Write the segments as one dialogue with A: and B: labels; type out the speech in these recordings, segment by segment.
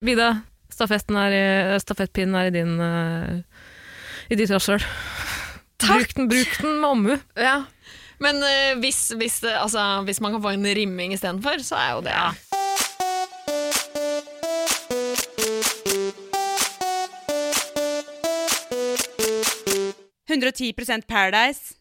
A: Vida, stafetten er i, stafettpinnen er i din eh, i ditt rasshøl.
B: Takk!
A: Bruk den, bruk den med omhu.
B: Ja. Men eh, hvis, hvis, det- altså, hvis man kan få en rimming istedenfor, så er jo det
C: Paradise.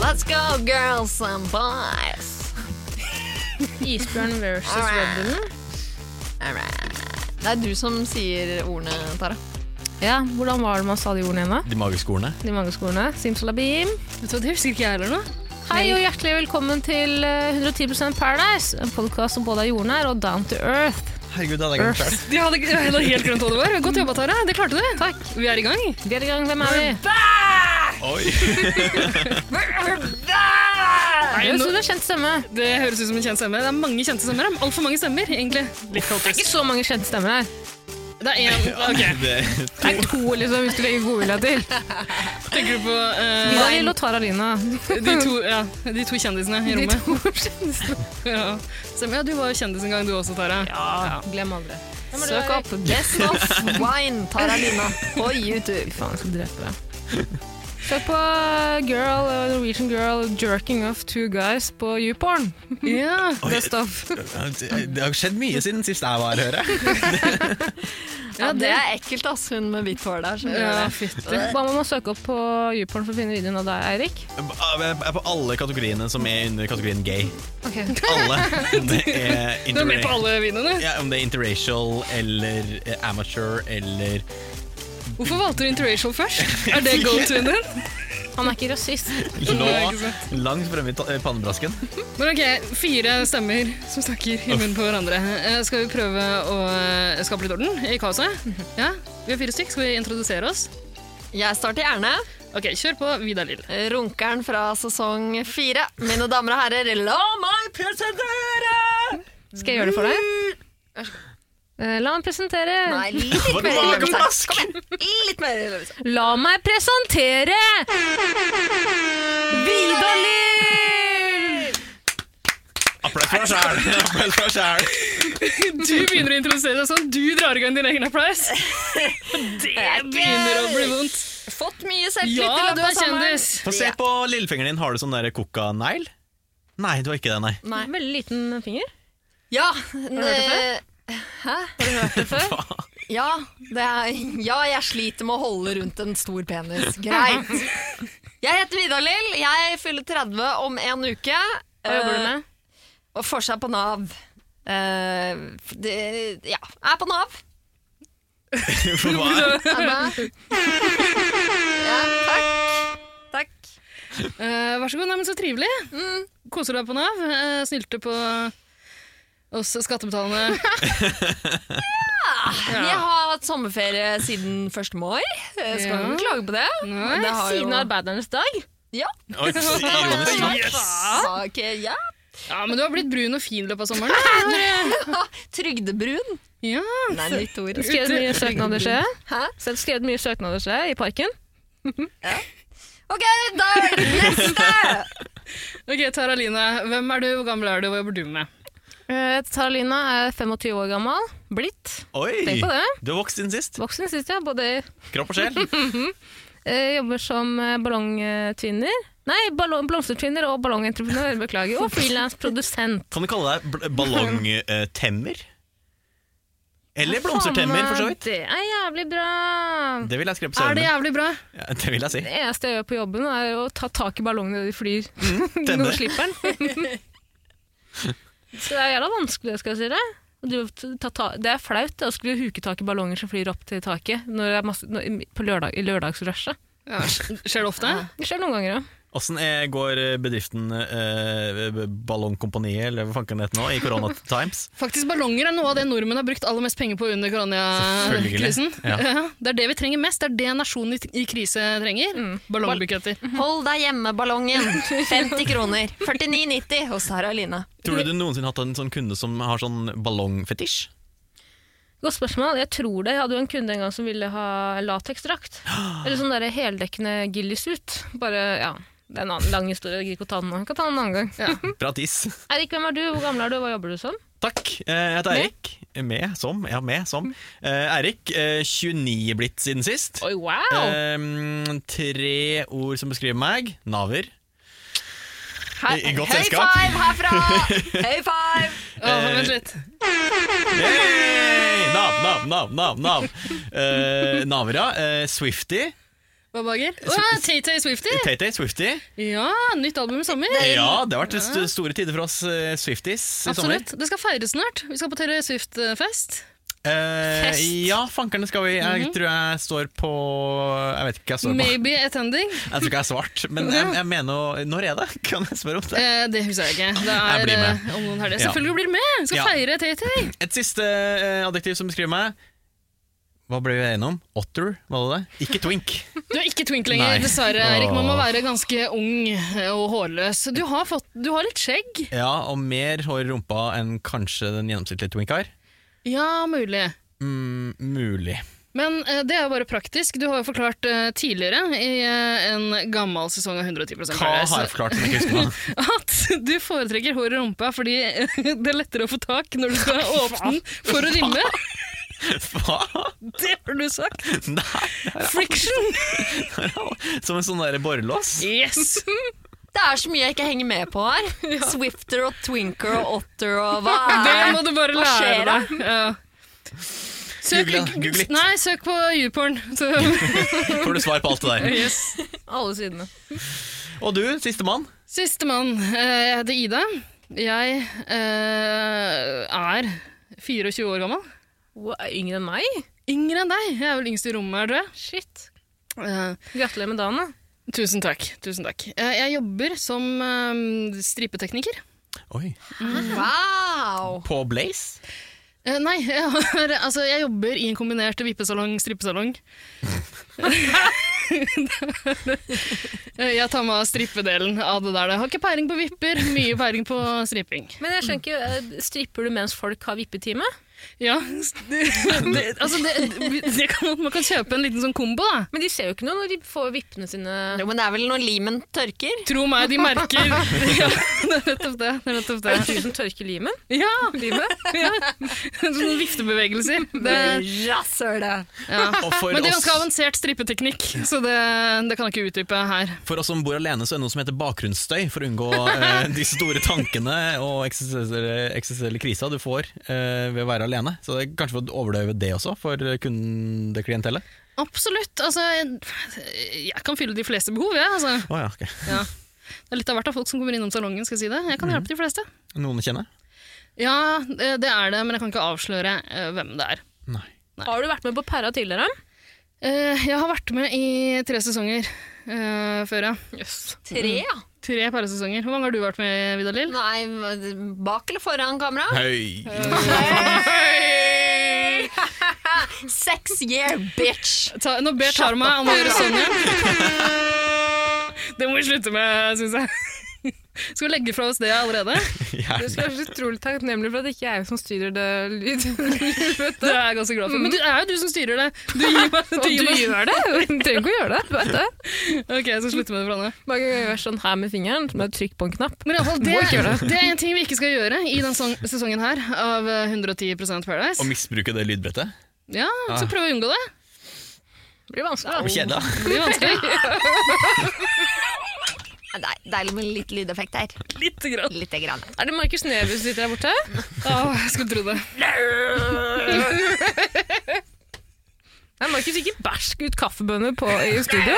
B: Let's go, girls and boys!
A: Isbjørn versus
B: Red Alright. Det er du som sier ordene, Tara.
A: Ja, hvordan var det man sa de ordene igjen, da?
D: De magiske ordene.
A: De mange skolene. Simsalabim.
E: Vet du hva, Det husker ikke jeg heller nå.
A: Hei og hjertelig velkommen til eh, 110 Paradise, en podkast som både er jordnær og down to earth.
D: Herregud, det hadde jeg glemt selv.
E: De hadde, de hadde helt glemt hva det var. Godt jobba, Tara. Det klarte du. Takk. Vi er i gang.
A: Vi er i gang, hvem er vi?
D: Oi.
A: Nei,
E: nå-
A: nå... Du har kjent stemme.
E: Det høres ut som en kjent stemme. Det er mange kjente stemmer. Altfor mange stemmer, egentlig. Litt kaotisk.
A: Ikke så mange kjente stemmer her.
E: Det er én Ok,
D: Det,
A: Det er to, liksom, hvis du legger godvilja til.
E: tenker du på eh,
A: Vida Lill og Tara Lina.
E: de, to, ja, de to kjendisene i
A: De
E: rommet?
A: to kjendisene.
E: Ja. Stemmer, ja, du var jo kjendis en gang, du også, Tara.
A: Ja, glem aldri.
B: Søk opp Best of Wine Tara Lina på YouTube.
A: Faen, jeg skal drepe deg. Søk på girl, eh, Norwegian girl jerking off two guys på YouPorn.
E: Ja.
A: Best of.
D: det har skjedd mye siden sist jeg var her, hører jeg.
B: Ja, det er ekkelt, ass. Hun med hvitt hår der. skjønner
E: Ja,
B: du det?
E: fytti.
A: Da må man søke opp på YouPorn for å finne videoen av deg, Eirik.
D: Jeg er på alle kategoriene som er under kategorien gay.
A: Ok.
D: Alle. Om det er,
E: Du er med på
D: interra-
E: alle videoene.
D: ja, om det er interracial eller eh, amateur eller
E: Hvorfor valgte du interracial først? Er det go-to-en din?
A: Han er ikke rasist.
D: lå
E: Nei, ikke sant.
D: langt fremme i ta- eh, pannebrasken.
E: Men ok, fire stemmer som snakker i munnen på hverandre. Eh, Skal vi prøve å eh, skape litt orden i kaoset? Ja, Vi har fire stykk. Skal vi introdusere oss?
B: Jeg starter gjerne.
E: Ok, Kjør på, Vidar Lill.
B: Runkeren fra sesong fire. Mine damer og herrer, la meg presentere!
A: Skal jeg gjøre det for deg? Eh, La meg presentere.
B: Nei, litt
D: Hva
B: mer
D: var det?
B: Elvestad. Kom igjen! Litt mer Elvestad.
A: La meg presentere Vidar Lill!
D: Applaus for deg selv. Applaus for deg selv.
E: Du begynner å introdusere deg sånn. Du drar i gang din egen applaus. Det begynner å bli vondt.
B: Fått mye selvtillit
E: Ja,
B: i
E: du
B: løpet av
E: er
B: sommeren.
E: kjendis.
D: Få se på lillefingeren din. Har du sånn der koka-negl? Nei, du har ikke det, nei.
B: Nei.
A: Veldig liten finger.
B: Ja, eh,
A: hørt det
B: Hæ?
A: Har du hørt det før?
B: Ja, det er, ja, jeg sliter med å holde rundt en stor penis. Greit. Jeg heter Vidar Lill. Jeg fyller 30 om en uke.
A: Hva jobber du
B: eh,
A: med?
B: Og får seg på Nav. Eh, det, ja, er på Nav.
D: Hva?
B: Er det? ja, takk. Takk.
E: Eh, vær så god. Nei, men så trivelig. Koser deg på Nav. Eh, snylte på oss skattebetalende.
B: Jeg har hatt sommerferie siden 1. mai. Jeg skal
E: Ja.
B: ikke klage på det.
E: Nei,
B: det har
A: Siden
B: jo-
A: arbeidernes dag.
B: Ja.
D: Oi, ironisk nok.
B: Sa ikke ja.
E: Ja, men du har blitt brun og fin i løpet av sommeren.
B: Trygdebrun.
E: Ja,
B: Nei, nytt ord.
A: Skrevet mye søknader, ser jeg.
B: Hæ?
A: Selv skrevet mye søknader, ser jeg, i parken.
B: Ok, da er det neste!
E: Ok, Tara Line, hvem er du, hvor gammel er du, hva jobber du med?
A: Eh, Taralina er 25 år gammel. Blitt.
D: Oi,
A: Tenk på det.
D: du har vokst siden sist.
A: Voksen, syns jeg. Både
D: Kropp og sjel.
A: eh, jobber som eh, ballongtvinner. Nei, ballong, blomstertvinner og ballongentreprenør, beklager. Og frilansprodusent.
D: Kan du kalle deg bl- ballongtemmer? Eller blomstertemmer, for så vidt.
A: Det er jævlig bra.
D: Det vil jeg skrive på
E: Er det
D: søvnen.
E: jævlig bra?
D: Ja, det vil jeg si.
A: Det eneste jeg gjør på jobben, er å ta tak i ballongene når de flyr.
D: tenne.
A: Nå slipper den. Så det er jævla vanskelig, det skal jeg si deg. Og du- ta ta- Det er flaut det, å skulle huke tak i ballonger som flyr opp til taket når det er masse, når, i- på lørdag, i lørdagsrushet.
E: Ja, sk- skjer det ofte?
A: Det skjer noen ganger, ja.
D: Åssen er- går bedriften eh, b- Ballongkompaniet, eller hva fanken det heter nå, i Corona Times?
E: Faktisk ballonger er noe av det nordmenn har brukt aller mest penger på under koronakrisen.
D: Selvfølgelig, ja.
E: Ja, Det er det vi trenger mest, det er det nasjonen i- i krise trenger. Ballongbuketter.
B: Hold deg hjemme-ballongen. 50 kroner. 49,90 hos Sara Line.
D: Tror du du noensinne har hatt en sånn kunde som har sånn ballongfetisj?
A: Godt spørsmål. Jeg tror det. Jeg hadde jo en kunde en gang som ville ha lateksdrakt. Eller sånn derre heldekkende gillisut. Bare, ja. Det er en annen lang historie, jeg gidder ikke å ta den nå. Jeg Kan ta den en annen gang.
D: Pratis.
A: Eirik, hvem er du? Hvor gammel er du? Hva jobber du som?
D: Takk. Eh, Jeg heter Eirik. Med, som. Ja, med, som. Eh, Eirik, eh, 29 blitt siden sist.
A: Oi, wow!
D: Eh, tre ord som beskriver meg. Naver.
B: Hei-
D: I- i godt
B: high
D: selskap.
B: five herfra! High five!
E: Åh,
D: Eh,
E: vent litt.
D: Hey! Nav, nav, nav, nav, nav. Eh, Navra. Eh, Swifty.
E: Hva bager? Åh, Tay-Tay Swifty!
D: Tay-Tay Swifty.
E: Ja, nytt album i sommer.
D: Ja, det har vært st store tider for oss eh, Swifties i sommer.
E: Absolutt. Det skal feires snart. Vi skal på Taylor Swift-fest.
D: Eh,
E: Fest.
D: ja, fankerne skal vi. Jeg tror jeg står på Jeg vet ikke hva jeg står på.
E: Maybe attending.
D: Jeg tror ikke jeg er svart, men jeg, jeg mener jo- Når er det? Kan jeg spørre om det?
E: Eh, det husker jeg ikke. Det
D: Jeg
E: er
D: blir med.
E: eh, om noen helger.
D: Ja.
E: Selvfølgelig blir du med! Vi skal
D: Ja.
E: feire Tay-Tay.
D: Et siste eh, adjektiv som beskriver meg. Hva ble vi enige om? Otter, var det det? Ikke twink.
E: Du er ikke twink
D: Nei.
E: lenger, dessverre. Erik, man må
D: Åh.
E: være ganske ung og hårløs. Du har, fått, du har litt skjegg.
D: Ja, og mer hår i rumpa enn kanskje den gjennomsnittlige twink har.
E: Ja, mulig.
D: Mm, mulig.
E: Men eh, det er jo bare praktisk. Du har jo forklart eh, tidligere i eh, en gammel sesong av 110
D: Hva
E: Paradise,
D: har jeg forklart som jeg ikke husker nå?
E: At du foretrekker hår i rumpa fordi eh, det er lettere å få tak når du skal åpne den for å rimme.
D: Hva?
E: Det har du sagt!
D: Nei,
E: Friction!
D: som en sånn der borrelås?
E: Yes!
B: Det er så mye jeg ikke henger med på her. Swifter og Twinker og Otter og hva
E: Det
B: er
E: må du bare
B: Hva skjer
E: lære deg. Ja. Søk,
D: Google- Google litt.
E: Nei, søk på YouPorn. Så,
D: Får du svar på alt det der.
E: yes.
A: Alle sidene.
D: Og du, sistemann.
E: Sistemann. Eh, Jeg heter Ida. Jeg eh, er 24 år gammel.
A: Wow, yngre enn meg?
E: Yngre enn deg. Jeg er vel yngst i rommet her, tror jeg.
A: Shit.
E: Eh,
A: Gratulerer med dagen. da.
E: Tusen takk. tusen takk. Eh, Jeg jobber som eh, stripetekniker.
D: Oi.
B: Wow!
D: På Blaze?
E: Eh, Nei, jeg, har, altså, jeg jobber i en kombinert vippesalong-strippesalong. Eh, jeg tar med strippedelen av det der. Jeg har ikke peiling på vipper, mye peiling på striping.
A: Men jeg skjønner ikke, eh, stripper du mens folk har vippetime?
E: Ja, det, det, altså det, det kan, Man kan kjøpe en liten sånn kombo, da.
A: Men de ser jo ikke noe når de får vippene sine
B: Jo, men det er vel når limen tørker?
E: Tro meg, de merker ja, Det er nettopp det. det, er nettopp
A: Er det
E: det.
A: du som tørker limen?
E: Ja,
A: limet?
E: ja! Sånne viftebevegelser. sånn Det,
B: Rasshøle!
E: ja.
D: Og for
E: Men det er
D: oss,
E: ganske avansert strippeteknikk, så det, det kan jeg ikke utdype her.
D: for oss som bor alene, så er det noe som heter bakgrunnsstøy, for å unngå eh, de store tankene og eksistensielle eksistensielle krisa du får eh, ved å være alene. Så det er kanskje for å overdøve det også, for kundeklientellet.
E: Absolutt. Altså, jeg, jeg kan fylle de fleste behov, jeg. Altså.
D: Å ja, ok.
E: Ja. Det er litt av hvert av folk som kommer innom salongen. skal Jeg si det. Jeg kan hjelpe de fleste.
D: Noen kjenner?
E: Mhm. Ja, eh, det er det, men jeg kan ikke avsløre eh, hvem det er.
D: Nei.
A: Har du vært med på Perra tidligere?
E: Eh, Jeg har vært med i tre sesonger eh, før, ja.
B: Tre, ja.
E: Tre paresesonger. Hvor mange har du vært med, Vidar Lill?
B: Nei, bak eller foran kamera?
D: Høy.
B: Sex year, bitch!
E: Ta, nå ber Tara meg om å gjøre sånn igjen. Det må vi slutte med, syns jeg. Skal vi legge fra oss det allerede?
D: Ja,
A: Du skal være så utrolig takknemlig for at det ikke er jeg som styrer det lyd.
E: Det er jeg ganske glad for. Men du, det er jo du som styrer det. Du gir meg,
A: Og
E: du gir
A: du
E: meg.
A: gjør det! Du trenger ikke å gjøre det. Du vet det.
E: Ok, jeg skal slutte med det fra nå.
A: Man kan gjøre sånn her med fingeren, med trykk på en knapp.
E: Men i alle fall, det,
A: Må ikke gjøre
E: det er en ting vi ikke skal gjøre i denne song- sesongen her av eh, 110 Paradise.
D: Å misbruke det lydbrettet?
E: Ja, så prøv å unngå det.
A: Det blir
D: Og
A: vanskelig. da.
D: kjeda?
E: Det blir vanskelig.
B: Det er deilig med litt lydeffekt her.
E: Litt grann.
B: Lite grann.
A: Er det Markus Neby som sitter der borte?
E: Åh, jeg skulle tro det.
A: Nei, Markus ikke bæsj ut kaffebønner på, i studio.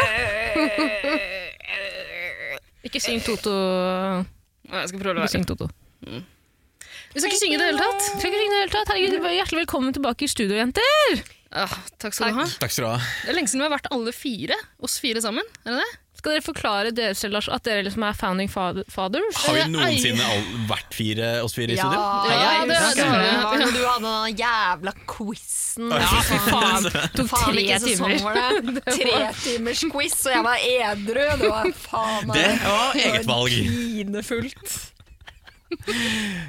A: ikke syng Toto.
E: Åh, Jeg skal prøve å
A: Ikke
E: være.
A: syng Toto.
E: Vi skal ikke synge i det hele tatt.
A: Skal ikke synge det hele tatt. Herregud, bare hjertelig velkommen tilbake i studio, jenter!
E: Åh, takk skal du ha.
D: Takk skal du ha.
E: Det er lenge siden vi har vært alle fire, oss fire sammen. Er det det?
A: Skal dere forklare dere selv, Lars, at dere liksom er founding fa- fathers?
D: Har vi
E: Eh,
D: noensinne all, vært fire, oss fire i
B: Ja,
D: studio?
E: Ja,
B: jeg
E: det-
B: husker
E: det har jeg.
B: det var når du hadde den jævla quizen.
A: Ja, fy faen. Tok
B: Faen,
A: tre
B: hvilken sesong
A: timer.
B: var det? Tre timers quiz, og jeg var edru. Det var faen meg
D: Det var eget valg.
B: pinefullt.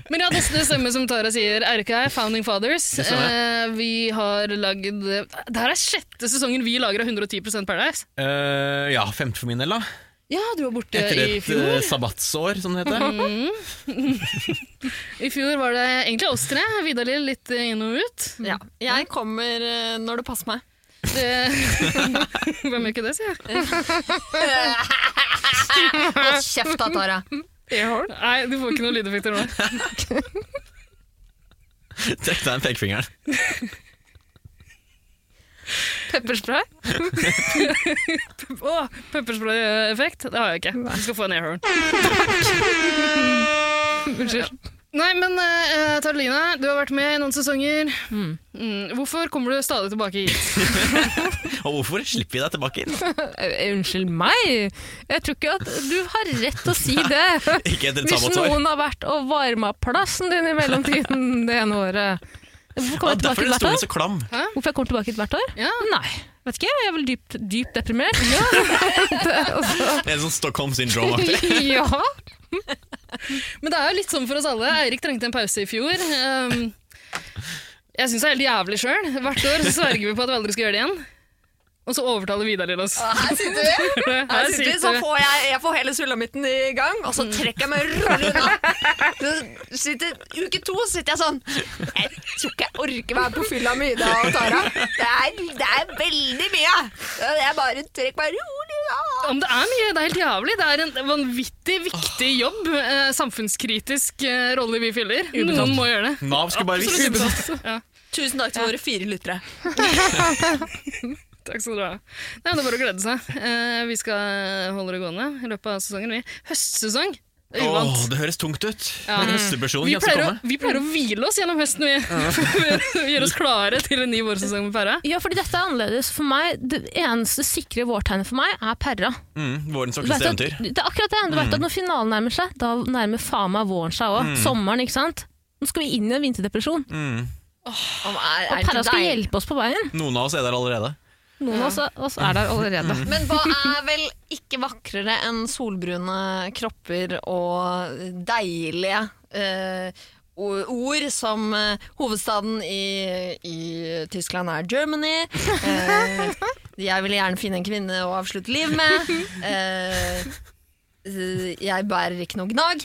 E: Men ja, det, det stemmer som Tara sier. RK er Founding Fathers.
D: Det stemmer.
E: Eh, vi har lagd eh, Det her er sjette sesongen vi lager av 110 Paradise.
D: Eh, ja, femte for min del, da.
E: Ja, du var borte
D: Etter
E: i
D: et
E: fjor. Mhm.
D: eh, sabbatsår, som det heter. eh,
E: I fjor var det egentlig oss tre. Vidar-Lill litt inn og ut.
B: Ja. Jeg kommer eh, når det passer meg.
E: Det... Hvem gjør ikke det, sier jeg?
B: Hold kjeft da, Tara.
E: Nei, du får ikke noen lydeffekter nå.
D: Trekk deg den pekefingeren.
A: Pepperspray?
E: Å, pepperspray-effekt? Det har jeg ikke. Du skal få en airhorn.
A: Unnskyld.
E: Nei, men uh, Taralina, du har vært med i noen sesonger. Mm. Hvorfor kommer du stadig tilbake hit?
D: Og hvorfor slipper vi deg tilbake inn?
A: Eh, Unnskyld meg? Jeg tror ikke at du har rett til å si det.
D: Ikke etter et
A: Hvis
D: sabbatsår.
A: noen har vært og varma plassen din i mellomtiden det ene året. Hvorfor
D: Ja,
A: kommer jeg tilbake
D: derfor er
A: hit
D: den
A: hvert
D: stolen
A: år?
D: så klam.
A: Hvorfor jeg kommer tilbake hit hvert år?
E: Ja.
A: Nei, vet ikke. Jeg er vel dypt, dypt deprimert. Ja.
D: Det er sånn Stockholm syndrome-aktig.
A: ja.
E: Men det er jo litt sånn for oss alle. Eirik trengte en pause i fjor. Um, jeg syns det er helt jævlig sjøl. Hvert år så sverger vi på at vi aldri skal gjøre det igjen. Og så overtaler Vidar til oss.
B: Her sitter vi. Her sitter vi, så
E: vi.
B: får jeg, jeg får hele sulamitten i gang, og så trekker jeg meg rolig unna. Så Sitter, uke to sitter jeg sånn Jeg tror ikke jeg orker være på fylla med Ida og Tara. Det er, det er veldig mye. Jeg bare trekker meg rolig unna.
E: Ja, men det er mye. Det er helt jævlig. Det er en vanvittig viktig jobb. Eh, samfunnskritisk eh, rolle vi fyller. Noen må gjøre det.
D: Nav skulle bare
E: Absolutt
D: visst.
E: ubetalt. Ja.
B: Tusen takk til våre fire lyttere.
E: Takk skal du ha. Nei, men det er bare å glede seg. Eh, vi skal holde det gående i løpet av sesongen. Vi. Høstsesong. Det er
D: Åh,
E: Uvant.
D: det høres tungt ut.
E: Ja.
D: Men Høstepersonen
E: Vi
D: kan
E: pleier,
D: så
E: å,
D: komme.
E: vi pleier å hvile oss gjennom høsten, vi. Gjøre oss klare til en ny vårsesong med Perra.
A: ja, fordi dette er annerledes. For meg, Det eneste sikre vårtegnet for meg er perra.
D: Mm, vårens
A: Du vet
D: vakreste
A: at,
D: eventyr. Mm.
A: det er akkurat det. Du vet at Når finalen nærmer seg, da nærmer faen meg våren seg òg. Sommeren, ikke sant. Nå skal vi inn i en vinterdepresjon.
D: Mm.
B: Er,
A: Og perra skal hjelpe oss på veien.
D: Noen av oss er der allerede.
A: Noen av oss, oss er der allerede.
D: Mm.
B: Men hva er vel ikke vakrere enn solbrune kropper og deilige eh, o- ord som eh, hovedstaden i, i Tyskland er Germany. eh, jeg ville gjerne finne en kvinne å avslutte livet med. eh, eh, jeg bærer ikke noe gnag.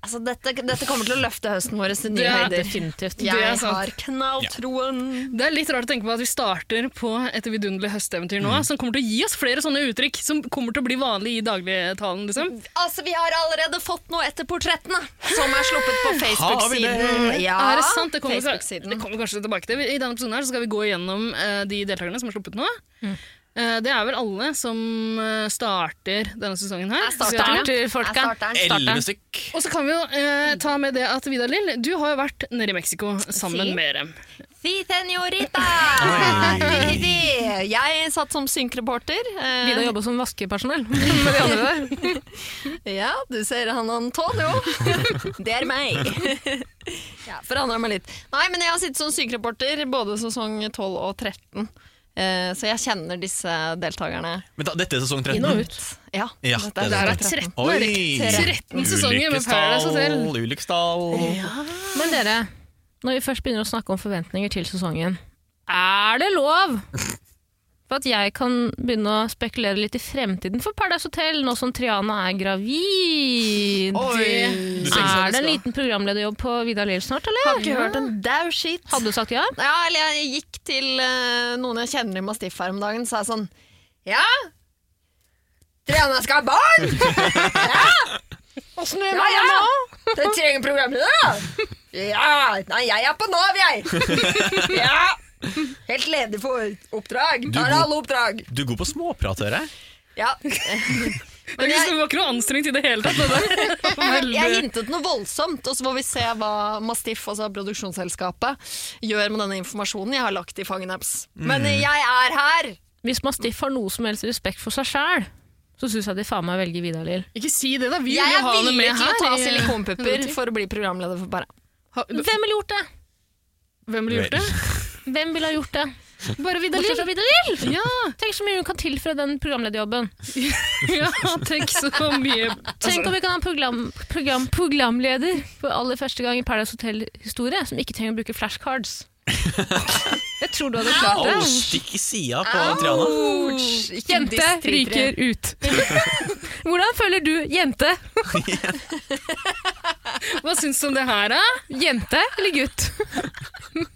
B: Altså, dette, dette kommer til å løfte høsten vår til nye
E: Ja,
B: høyder.
A: Definitivt.
E: det er
B: Jeg
E: sant.
B: har knalltroen.
E: Det er litt rart å tenke på at vi starter på et vidunderlig høsteventyr nå, som kommer til å gi oss flere sånne uttrykk som kommer til å bli vanlig i dagligtalen. Liksom.
B: Altså, Vi har allerede fått noe etter portrettene, som er sluppet
D: Har
B: på
D: vi det?
B: Facebook-siden. Ja,
E: er det sant? Det kommer, vi, det
B: Facebook-siden.
E: kommer vi kanskje tilbake til. I denne episoden her så skal vi gå igjennom eh, de deltakerne som har sluppet nå.
B: Mm.
E: Eh, det er vel alle som eh, starter denne sesongen her.
B: Jeg starter,
E: Så vi har-
B: ja.
A: Starter, folka.
B: Jeg starter den.
D: Elleve stykk.
E: Og så kan vi jo eh, ta med det at Vidar Lill, du har jo vært nede i Mexico sammen
B: Si.
E: med dem.
B: Si, senorita!
D: Oi.
B: Jeg satt som synkreporter. eh,
A: Vidar jobber som vaskepersonell. Med de andre der.
B: Ja, du ser han Antonio. Det er meg. Ja, Forandra meg litt. Nei, men jeg har sittet som sykereporter både sesong 12 og 13. eh, Så jeg kjenner disse deltakerne.
D: Men da, dette er sesong 13.
B: Inn og ut. Ja,
D: Ja,
B: dette
D: det er
E: Der
B: sesong
E: er 13,
D: Oi.
E: Erik. 13 sesonger med Paradise
D: Ulykkesdal,
E: Hotel.
D: Ulykkesdal.
A: Men dere, når vi først begynner å snakke om forventninger til sesongen, er det lov for at jeg kan begynne å spekulere litt i fremtiden for Paradise Hotel, nå som Triana er gravid?
D: Du tenker sånn,
A: Er det en liten programlederjobb på Vidar Lill snart, eller?
B: Har ikke hørt en dau skitt.
A: Hadde du sagt ja?
B: Ja, eller jeg gikk til eh, noen jeg kjenner i Mastiff her om dagen, sa jeg sånn Ja? Triana skal ha barn! ja? Åssen gjør man det nå? Du trenger programleder, da! Ja! Nei, jeg er på Nav, jeg! ja! Helt ledig for oppdrag.
D: Du
B: Tar
D: god-
B: alle oppdrag.
D: Du er god på småprat, hører jeg.
B: Ja.
E: Det er ikke så- det var ikke noe anstrengt i det hele tatt. Det der. Veldig-
B: Jeg hintet noe voldsomt, og så får vi se hva Mastiff, altså produksjonsselskapet, gjør med denne informasjonen jeg har lagt i fangenapps. Men jeg er her!
A: Hvis Mastiff har noe som helst respekt for seg sjæl, så syns jeg de faen meg velger Vidar Lill.
E: ikke si det, da. Vi vil
B: Jeg
E: jo
B: er
E: ha henne
B: villig
E: med
B: til å ta
E: her. i-
B: silikonpupper for å bli programleder for Bæra.
E: Ha-
A: Hvem ville gjort det?
E: Hvem ville gjort det?
A: Hvem ville ha gjort det?
E: Bare
A: Bortsett
E: Vidalil.
A: fra Vidalil!
E: Ja,
A: Tenk så mye hun kan tilføre den programlederjobben.
B: Altså-
E: ja, tenk så mye Altså,
A: Tenk om vi kan ha en program, program, programleder for aller første gang i Paradise Hotel-historie som ikke trenger å bruke flashcards. Jeg tror du hadde klart
D: Au,
A: det.
D: stikk i sida på Triana.
B: Ouch, ikke
A: Jente
B: diss til tre.
A: ryker ut. Hvordan føler du jente?
E: Hva syns du om det her, da?
A: Jente eller gutt?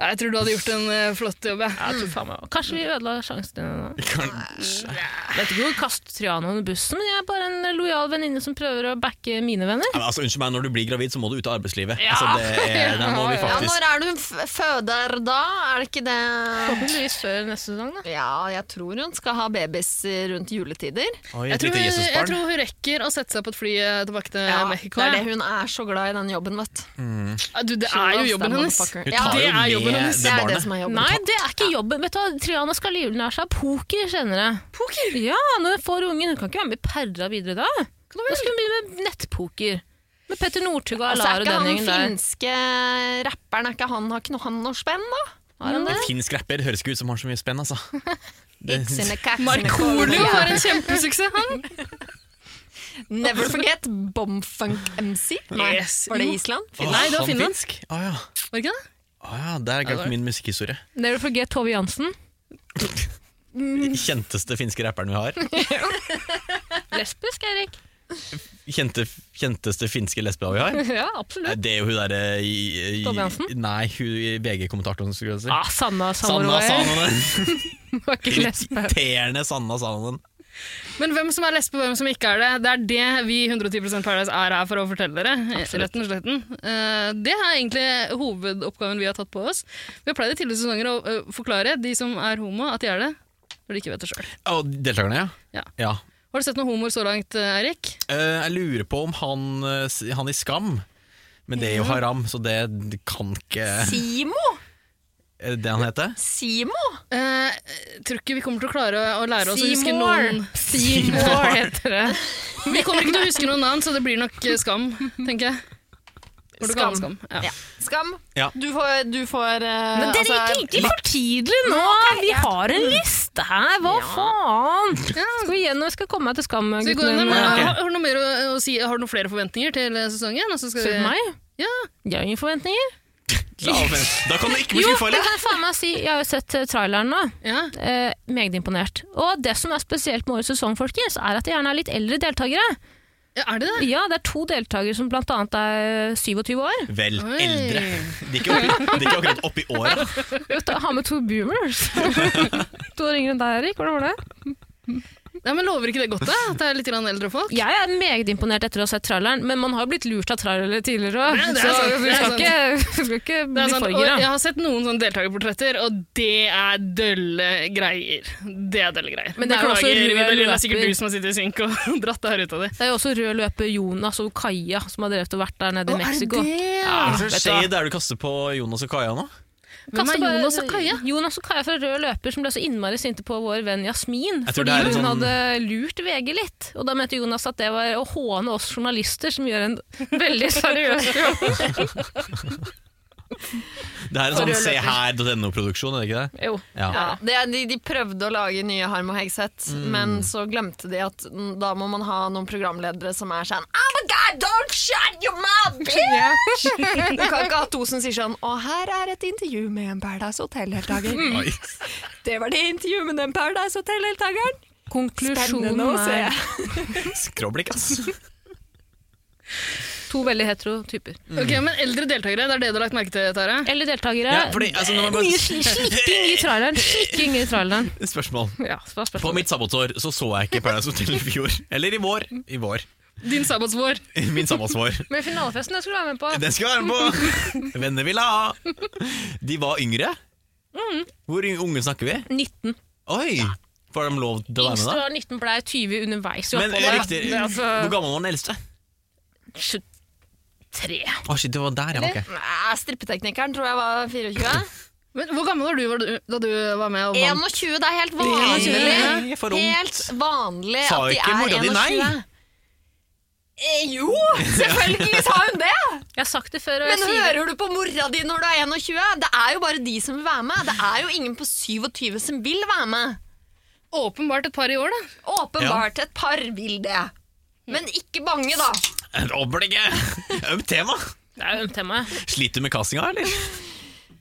E: Ja, Jeg tror du hadde gjort en eh, flott jobb. jeg.
A: Jeg tror faen meg
B: Mm.
A: Kanskje vi ødela sjansen din nå.
D: Kanskje.
A: Vet ikke hvor kast Triana under bussen, men jeg er bare en lojal venninne som prøver å backe mine venner.
D: Ja, men altså, unnskyld meg, når du blir gravid, så må du ut av arbeidslivet.
A: Ja.
D: Altså, det er, der må vi
B: Ja,
D: faktisk
B: når er du f- føder da? Er det ikke det
A: Forhåpentligvis før neste sesong, da.
B: Ja, jeg tror hun skal ha babys rundt juletider.
D: Oi,
E: Jeg
D: et
E: tror,
D: lite
E: hun, jeg
D: Jesusbarn.
E: tror hun rekker å sette seg på et fly eh, tilbake til
B: Ja, det
E: Mexico.
B: er det
E: ja.
B: hun er så glad i den jobben, vet du.
E: Ja, du, det er jo jobben hennes.
D: Hun
B: Ja,
D: tar jo
E: det er
D: med
E: jobben hennes.
B: det
D: det
B: er det
D: barnet.
B: som er jobben.
A: Nei, det er ikke jobben. Vet du hva, Triana skal livnære seg av poker senere. Poker? Ja, når hun får ungen. Hun kan ikke være med i Perra videre da. Da skal hun begynne med nettpoker. Med Petter Northug og
B: Altså,
A: Alar og
B: er ikke
A: den
B: han
A: gjengen der.
B: finske rapperen er ikke han, Har ikke han noe spenn, da? Har han det?
D: En finsk rapper høres ikke ut som har så mye spenn, altså. Det-
B: Sine kaks, sine
E: Markoolio
B: kåler.
E: var en kjempesuksess, han.
B: Never forget Bomfunk MC.
E: Yes,
B: var det
E: jo.
B: Island?
D: Å,
E: Nei, det
D: han
E: var Finland.
D: finsk? Å ja.
E: Var det ikke det?
D: Å ja, der
E: Ja, det
D: glemte
E: var-
D: min musikkhistorie.
A: Never forget Tove Jansen.
D: Kjenteste finske rapperen vi har.
A: Lesbisk, Erik.
D: Kjente, kjenteste finske lesbia vi har.
A: ja,
D: Nei,
A: absolutt.
D: Det er jo hun derre
A: Tove Jansen?
D: Nei, hun VG-kommentatoren, skulle jeg si.
A: Ah, Sanna
D: Sanna
A: Samoroi.
D: Sanonen!
A: Var ikke lesbe.
D: Irriterende Sanna Sanonen.
E: Men hvem som er lesbe og hvem som ikke er det, det er det vi i 110 Paradise er her for å fortelle dere. Retten og sletten. Eh, Det er egentlig hovedoppgaven vi har tatt på oss. Vi har pleid i tidligere sesonger å eh, forklare de som er homo, at de er det. Når de ikke vet det sjøl.
D: Og deltakerne,
E: Ja.
D: ja. ja.
E: Har du sett noen homoer så langt, eh, Eirik?
D: Eh, jeg lurer på om han, eh, s- han i Skam Men det er jo haram, så det det kan ikke
B: Simo?
D: Er det det han heter?
B: Simo?
E: Eh, tror ikke vi kommer til å klare å lære oss å huske
B: Seymour.
E: noen
A: Seymour heter det.
E: Vi kommer ikke til å huske noen navn, så det blir nok eh, skam, tenker jeg. Hvor du
B: Skam.
E: kaller det skam. Ja.
B: Ja. Skam,
D: Ja.
B: du får, du får eh,
A: Men dere
B: altså,
A: gikk ikke for tidlig nå! Vi har en liste her, hva faen? Skal vi igjen når vi skal komme meg til skam,
E: Så vi går
A: guttene?
E: under, men,
D: Ja, ok.
E: har, har, du noe mer å, å si, har du noen flere forventninger til eh, sesongen? Og så skal
A: Spør
E: vi-
A: du meg?
E: Ja.
A: Jeg har ingen forventninger.
D: La, da kan det ikke bli
A: Jo,
D: skuffa,
A: det
D: eller?
A: kan jeg faen meg si. Jeg har jo sett eh, traileren nå.
E: Ja.
A: Eh, meget imponert. Og det som er spesielt med årets sesong, folkens, er at det gjerne er litt eldre deltakere.
E: ja, er det det?
A: Ja, det er to deltakere som blant annet er eh, 27 år.
D: Vel,
E: Oi.
D: eldre. De er ikke oppi- de er ikke akkurat oppi åra.
A: Vet du, Ha med to boomers. to år yngre enn deg, Erik. Hvordan var det?
E: Nei, men Lover ikke det godt, da? At det er litt grann eldre folk?
A: Jeg er meget imponert etter å ha sett traileren, men man har jo blitt lurt av trailere tidligere òg.
E: Ja, det er
A: Så
E: sant,
A: vi
E: det er
A: skal
E: sant.
A: ikke, vi skal ikke
E: Det
A: bli
E: er sant, og
A: forgira.
E: jeg har sett noen sånne deltakerportretter, og det er dølle greier. Det er dølle greier.
A: Men det er jo også rød
E: Vidar Lill, det er
A: løper.
E: sikkert du som har sittet i synk og dratt det her ut av det.
A: Det er jo også rød løper Jonas og Kaja som har drevet og vært der nede i Mexico.
E: Å, er det det?
A: Ja,
D: Hva er
A: vet
D: det som
A: du hva?
D: skjer der du kaster på Jonas og Kaja nå?
E: Hvem
A: Kaste
E: er
A: bare-
E: Jonas og Kaja?
A: Jonas og Kaja fra Rød Løper som ble så innmari sinte på vår venn Jasmin
D: Jeg tror
A: fordi
D: det er
A: hun
D: en sånn-
A: hadde lurt VG litt. Og da mente Jonas at det var å håne oss journalister som gjør en veldig seriøs jobb.
D: Det her er en sånn se her.no-produksjon, er det ikke det?
A: Jo.
D: Ja. Mm.
B: Ja, det, er- de, de prøvde å lage nye Harm og Hegseth, men så glemte de at mm, da må man ha noen programledere som er sånn Oh my god, don't shut your mouth, bitch! Du kan ikke ha to som sier sånn Og her er et intervju med en Paradise Hotel-deltaker.
A: Mm.
D: Oi.
B: Det var det intervjuet med den Paradise Hotel-deltakeren.
A: Konklusjonen
B: Spennende å se.
A: er
D: Skråblikk, ass.
A: to veldig hetero typer.
E: Ok, Men eldre deltakere, det er det du har lagt merke til, Tara?
A: Eller deltakere.
D: Ja, fordi, altså, når man bare-
A: Mye sli- slikking i traileren. Slikking i traileren.
D: Spørsmål.
A: Ja, så var
D: På
A: spørsmålet.
D: mitt sabbatår så så jeg ikke Paradise Hotel i fjor. Eller i vår. I vår.
E: Din sabbatsvår.
D: Min sabbatsvår.
A: Men finalefesten jeg skulle være med på.
D: Den skal jeg være med på! Venner ville ha! De var yngre. Hvor unge snakker vi?
A: 19.
D: Oi! Får de lov til å være
A: Yngste
D: med, da?
A: var 19, blei 20 underveis. i
D: Men
A: oppholdet.
D: riktig,
A: Det er
D: Hvor
A: altså
D: gammel var den eldste?
A: 23.
D: Å, shit, det var der, ja. ok.
B: Nei, Strippeteknikeren tror jeg var 24.
E: Men Hvor gammel var du, var du da du var med og vant?
B: 21, det er helt
E: Ja,
B: vanlig.
D: jeg er for ungt.
B: Helt vanlig
D: Sa
B: at de
D: ikke
B: er
D: mora di nei?
B: 21. Eh, jo, selvfølgelig sa hun det!
A: Jeg har sagt det før, og jeg
B: Men
A: sier det.
B: hører du på mora di når du er 21? Det er jo bare de som vil være med. Det er jo ingen på 27 som vil være med.
E: Åpenbart et par i år, da.
B: Åpenbart et par vil det. Men ikke bange, da.
D: Opplegget! Ømt tema!
A: Det er jo ømt tema. jeg.
D: Sliter du med castinga, eller?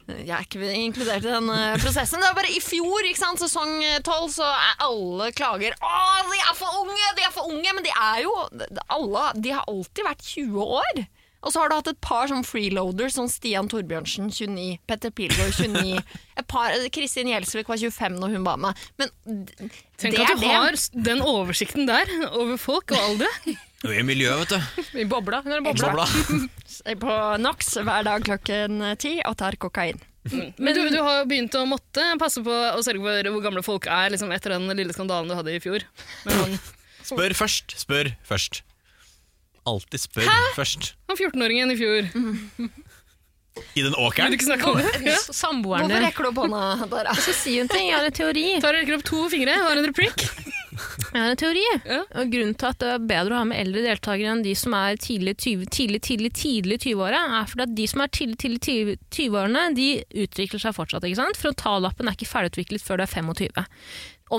B: Jeg er ikke inkludert i den eh, prosessen. Det er bare i fjor, ikke sant, sesong eh, tolv, så er alle klager. Å, de er for unge! De er for unge! Men de er jo alle, De har alltid vært 20 år. Og så har du hatt et par sånn freeloaders, sånn Stian Torbjørnsen, 29, Petter Pilgaard, 29 et par, eh, Kristin Gjelsvik var 25 når hun var med. Men d-
E: Tenk
B: det
E: at
B: er
E: du
B: det.
E: har s- den oversikten der over folk og aldre.
D: Du er i miljøet, vet du.
A: I bobla. Hun er i bobla.
D: Bobla.
B: på NOx hver dag klokken ti og tar kokain.
E: Men du, du har jo begynt å måtte passe på å sørge for hvor gamle folk er liksom, etter den lille skandalen du hadde i fjor. Med han,
D: Spør først. Spør først. Alltid spør først.
E: han 14-åringen i fjor.
A: Mhm.
D: I den
E: Vil
D: åkeren.
E: du ikke snakke om det? Ja.
A: S- Samboeren
B: Hvorfor
A: din.
B: rekker du opp hånda, Dara?
A: Jeg skal si en ting. Jeg har en teori.
E: Tar og rekker opp to fingre, har en replikk.
A: Jeg har en teori.
E: Ja.
A: Og grunnen til at det er bedre å ha med eldre deltakere enn de som er tidlig 20 tidlig, tidlig, tidlig 20-åra, er fordi at de som er tidlig, tidlig 20 20-årene, de utvikler seg fortsatt. ikke sant? Frontallappen er ikke ferdigutviklet før du er 25.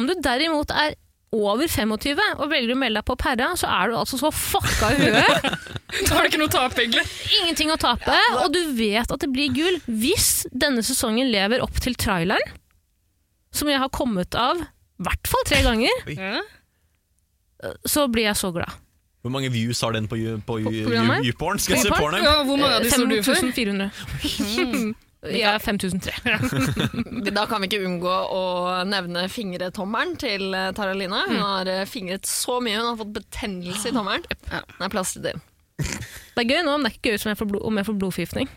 A: Om du derimot er over 25 og velger å melde deg på Perra, så er du altså så fucka i huet.
E: Da har du ikke noe tapegle.
A: Ingenting å tape, og du vet at det blir gull hvis denne sesongen lever opp til traileren, som jeg har kommet av i hvert fall tre ganger,
E: Ja.
A: så blir jeg så glad.
D: Hvor mange views har den på you- på you-
A: programmet?
D: you- YouPorn? Skal jeg se
A: YouPorn?
D: porno?
E: Ja, hvor mange av de står du for?
A: 5400. Jeg er 5003.
B: Da kan vi ikke unngå å nevne fingretommelen til eh, Tara Line. Hun har eh, fingret så mye, hun har fått betennelse i tommelen.
E: Ja.
B: Den er plass til det.
A: Det er gøy nå, men det er ikke gøy som jeg får blod, om jeg får blodforgiftning.